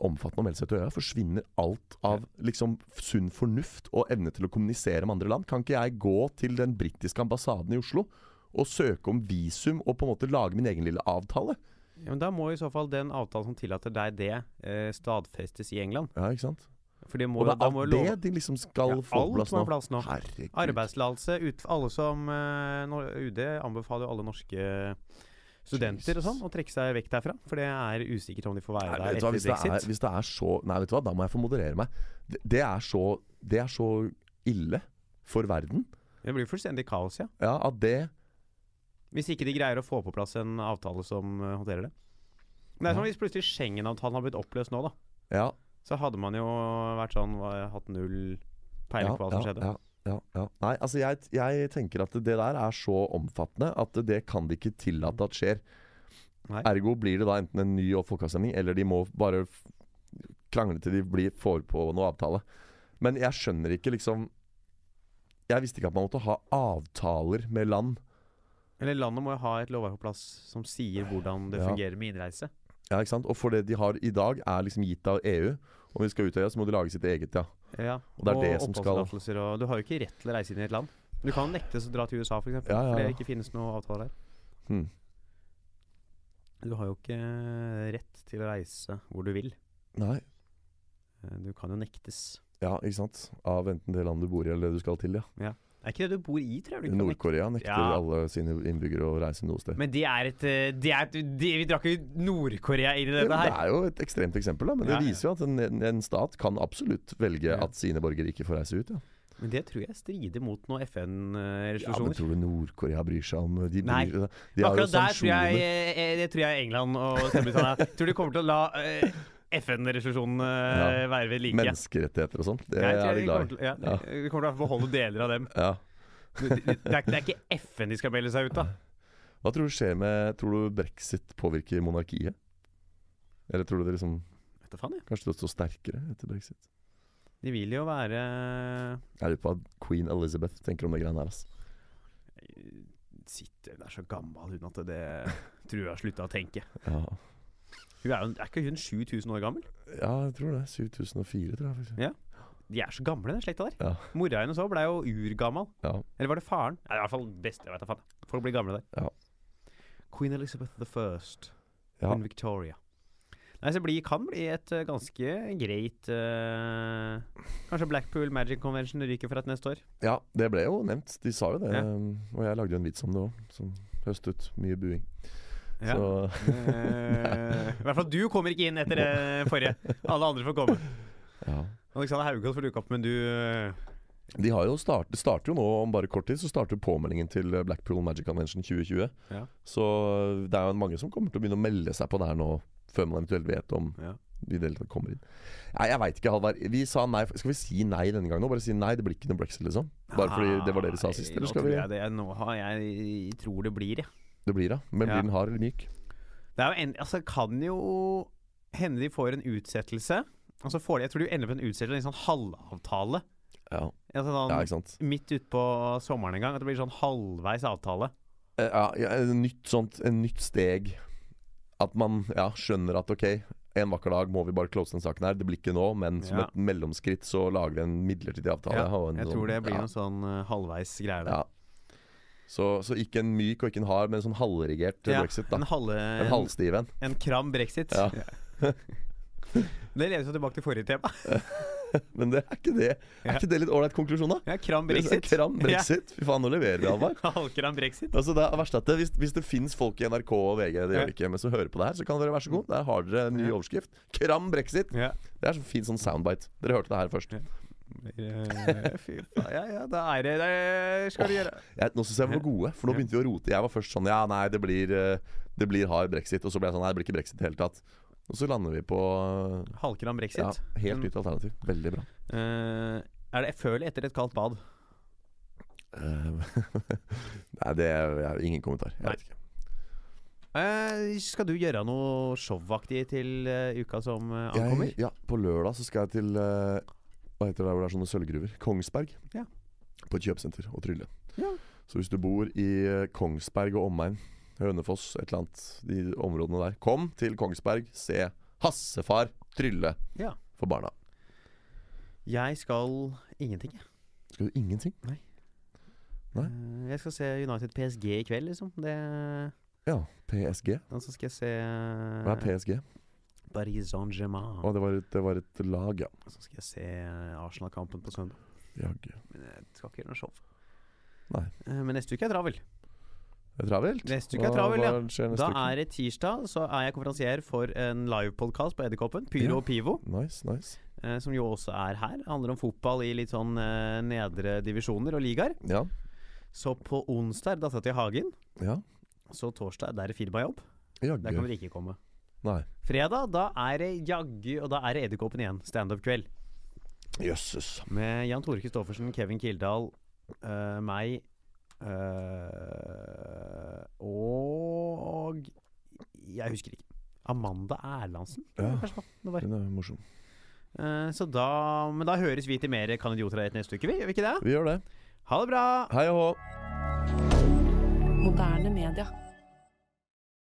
omfattende å melde seg til øya? Forsvinner alt av liksom, sunn fornuft og evne til å kommunisere med andre land? Kan ikke jeg gå til den britiske ambassaden i Oslo og søke om visum og på en måte lage min egen lille avtale?
Ja, men da må i så fall den avtalen som tillater deg det, eh, stadfestes i England.
Ja, ikke sant?
For det må,
Og
jo-
det
da
er
må jo
det
lov...
de liksom skal
Ja,
få
alt
på plass
må
nå.
ha plass nå.
Herregud.
Arbeidstillatelse ut Alle som eh, når- UD anbefaler jo alle norske studenter og sånn å trekke seg vekk derfra. For det er usikkert om de får være
Nei,
der
vet du hva,
etter
hvis, det er,
brexit.
hvis det er så Nei, vet du hva, da må jeg få moderere meg. Det, det, er, så, det er så ille for verden
Det blir fullstendig kaos, ja.
ja, at det
Hvis ikke de greier å få på plass en avtale som eh, håndterer det. Men det er som hvis plutselig Schengen-avtalen har blitt oppløst nå, da.
Ja,
Så hadde man jo vært sånn hva- Hatt null peiling på hva som skjedde.
Ja, ja, ja. Nei, altså jeg, jeg tenker at det der er så omfattende at det kan de ikke tillate at skjer.
Nei.
Ergo blir det da enten en ny folkeavstemning, eller de må bare f- krangle til de blir, får på noe avtale. Men jeg skjønner ikke liksom Jeg visste ikke at man måtte ha avtaler med land.
Eller landet må jo ha et lovverk på plass som sier hvordan det
Ja.
fungerer med innreise.
Ja, ikke sant? Og for det de har i dag, er liksom gitt av EU. Om vi skal ut av EU, så må de lage sitt eget, ja.
Ja.
Og det er det som skal-
oppholdstillatelser og Du har jo ikke rett til å reise inn i et land. Du kan nektes å dra til USA, f.eks. eksempel
Ja, ja,
Fordi
ja.
det ikke finnes noen avtale der.
Hmm.
Du har jo ikke eh, rett til å reise hvor du vil.
Nei.
Eh, Du kan jo nektes.
Ja, ikke sant. Av enten det landet du bor i, eller det du skal til, ja.
Er ikke det du bor i, tror jeg. Du kan nektes.
Nord-Korea nekter
Ja.
alle sine innbyggere å reise noe sted.
Men det er et, eh, det er et det, Vi drakk jo Nord-Korea inn i
Ja, men
dette
det
her.
er jo et ekstremt eksempel, da, men det
Ja, ja.
viser jo at en, en- en stat kan absolutt velge
Ja.
at sine borgere ikke får reise ut. Ja.
Men det tror jeg strider mot noen
Ja, men
FN-resolusjoner.
tror du Nord-Korea bryr seg om eh, De,
Nei.
bryr, de har jo
Akkurat der tror jeg,
sanksjoner.
eh, det tror jeg England og Storbritannia Tror de kommer til å la eh, FN-resolusjonen eh, være ved like.
Menneskerettigheter og sånt. Det
Jeg tror
eh, er
kommer
de glad i.
til, ja,
Ja.
de kommer til å beholde deler av dem.
Ja.
Det, det, det, er, det er ikke FN de skal melde seg ut av.
Hva tror du skjer med Tror du brexit påvirker monarkiet? Eller tror du det liksom
Vet du faen, jeg.
Kanskje det står sterkere etter brexit?
De vil jo være
Jeg lurer på hva queen Elizabeth tenker om det greiene her. ass.
Sitter Hun er så gammel, hun, at det tror jeg har slutta å tenke.
Ja.
Hun er, jo, er ikke hun 7000 år gammel?
ja, jeg tror det. 7004, tror jeg. faktisk
De er så gamle, den slekta der.
Ja.
Mora hennes òg blei jo urgammal.
Ja.
Eller var det faren? Ja, I hvert fall best, jeg vet da faen. Folk blir gamle der.
Ja.
Queen Elizabeth the First.
Ja.
Queen Victoria. Nei, så det blir- kan bli et eh, ganske greit eh, Kanskje Blackpool Magic Convention ryker fra et neste år.
Ja, det ble jo nevnt. De sa jo det.
Ja.
Og jeg lagde jo en vits om det òg, som høstet mye buing. Så
Eh, I hvert fall du kommer ikke inn etter det forrige. Alle andre får komme.
ja.
Alexander Haugaas får dukke opp, men du eh,
De har jo start, det starter jo nå om bare kort tid, så starter påmeldingen til Blackpool Magic Convention 2020.
Ja.
Så øh, det er jo mange som kommer til å begynne å melde seg på det her nå, før man eventuelt vet om
Ja.
de i det hele tatt kommer inn. Nei, jeg veit ikke, Halvard. Vi sa nei. Skal vi si nei denne gangen òg? Bare si nei, det blir ikke noe brexit, liksom? Bare fordi det var det dere sa sist?
Nei,
Eller
nå
skal
tror
vi
jeg det, nå har jeg, tror det blir, jeg.
Det blir da. Men
Ja.
blir den hard eller myk?
Det er jo en, altså, kan jo hende de får en utsettelse. Og så får de, jeg tror de ender på en utsettelse, en sånn halvavtale.
Ja,
Altså, sånn,
ja ikke sant.
midt utpå sommeren en gang. At det blir sånn halvveis avtale.
Eh, Ja, ja, et nytt sånt, et nytt steg. At man ja, skjønner at ok, en vakker dag må vi bare close den saken her. Det blir ikke nå, men som
Ja.
et mellomskritt så lager vi en midlertidig avtale.
Ja,
og en
Jeg
sånn-
tror det blir
ja,
noen sånn eh, halvveis greier der.
ja. Så, så ikke en myk og ikke en hard, men en sånn halvrigert eh,
Ja,
brexit. da
en, halve,
En
en,
halvstiv en.
en kram brexit.
Ja.
Det leder oss jo tilbake til forrige tema.
Men det er ikke det
Ja.
Er ikke det litt ålreit konklusjon, da?
Ja, kram brexit.
Kram brexit. Fy faen, nå leverer vi, Halvard.
Ja. Halvkram brexit.
Altså det er verst at det, hvis, hvis det fins folk i NRK og VG Det
Ja.
gjør det ikke, men som hører på det her, så kan dere være så god. Der har dere en ny overskrift. Kram brexit!
Ja.
Det er så fin sånn soundbite. Dere hørte det her først.
Ja. Eh, Fy faen. Ja ja, da er det det skal du
Åh.
gjøre.
Jeg, nå syns jeg vi var gode, for nå begynte vi å rote. Jeg var først sånn Ja, nei, det blir, eh, det blir hard brexit. Og så ble jeg sånn Nei, det blir ikke brexit i det hele tatt. Og så lander vi på eh,
Halvkram brexit.
ja, helt nytt alternativ. Veldig bra.
Eh, er det før eller etter et kaldt bad?
Eh, nei, det er jeg har ingen kommentar. Jeg
Nei.
vet ikke.
Eh, skal du gjøre noe showaktig til eh, uka som eh, ankommer?
Jeg, ja, på lørdag så skal jeg til eh, Hva heter det der hvor det er sånne sølvgruver? Kongsberg.
Ja.
På et kjøpesenter og trylle.
Ja.
Så hvis du bor i eh, Kongsberg og omegn, Hønefoss, et eller annet, de områdene der, kom til Kongsberg, se Hassefar trylle
Ja.
for barna.
Jeg skal ingenting, jeg.
Skal du ingenting? Nei.
Eh, jeg skal se United PSG i kveld, liksom. Det,
Ja. PSG.
og så skal jeg se
Hva er PSG?
Paris Saint-Germain.
Å, det var, et, det var et lag, ja.
Og så skal jeg se eh, Arsenal-kampen på søndag.
Jaggu.
Men jeg skal ikke gjøre noe show.
Nei.
Eh, men neste uke er travel.
Det er travelt.
Neste uke er travel, ja.
Hva skjer neste
Da
uke?
er det tirsdag, så er jeg konferansier for en livepodkast på Edderkoppen. Pyro
Ja.
og Pivo.
Nice, nice.
eh, som jo også er her. Det handler om fotball i litt sånn eh, nedre divisjoner og ligaer.
Ja.
Så på onsdag er det Dattera til Hagen.
ja.
Så torsdag der er det firmajobb. Der kan
Jaggu.
dere ikke komme.
Nei.
Fredag da er det jaggu, og da er det Edderkoppen igjen. Standup-kveld.
Jøsses.
Med Jan Tore Christoffersen, Kevin Kildahl, eh, meg eh, og Jeg husker ikke. Amanda Erlandsen?
Ja.
Kanskje det var.
Den er morsom.
Eh, så da, men da høres vi til mer Kan idioter ha rett neste uke, vi? Gjør vi ikke det?
Vi gjør det.
Ha det bra!
Hei og hå.
Moderne media.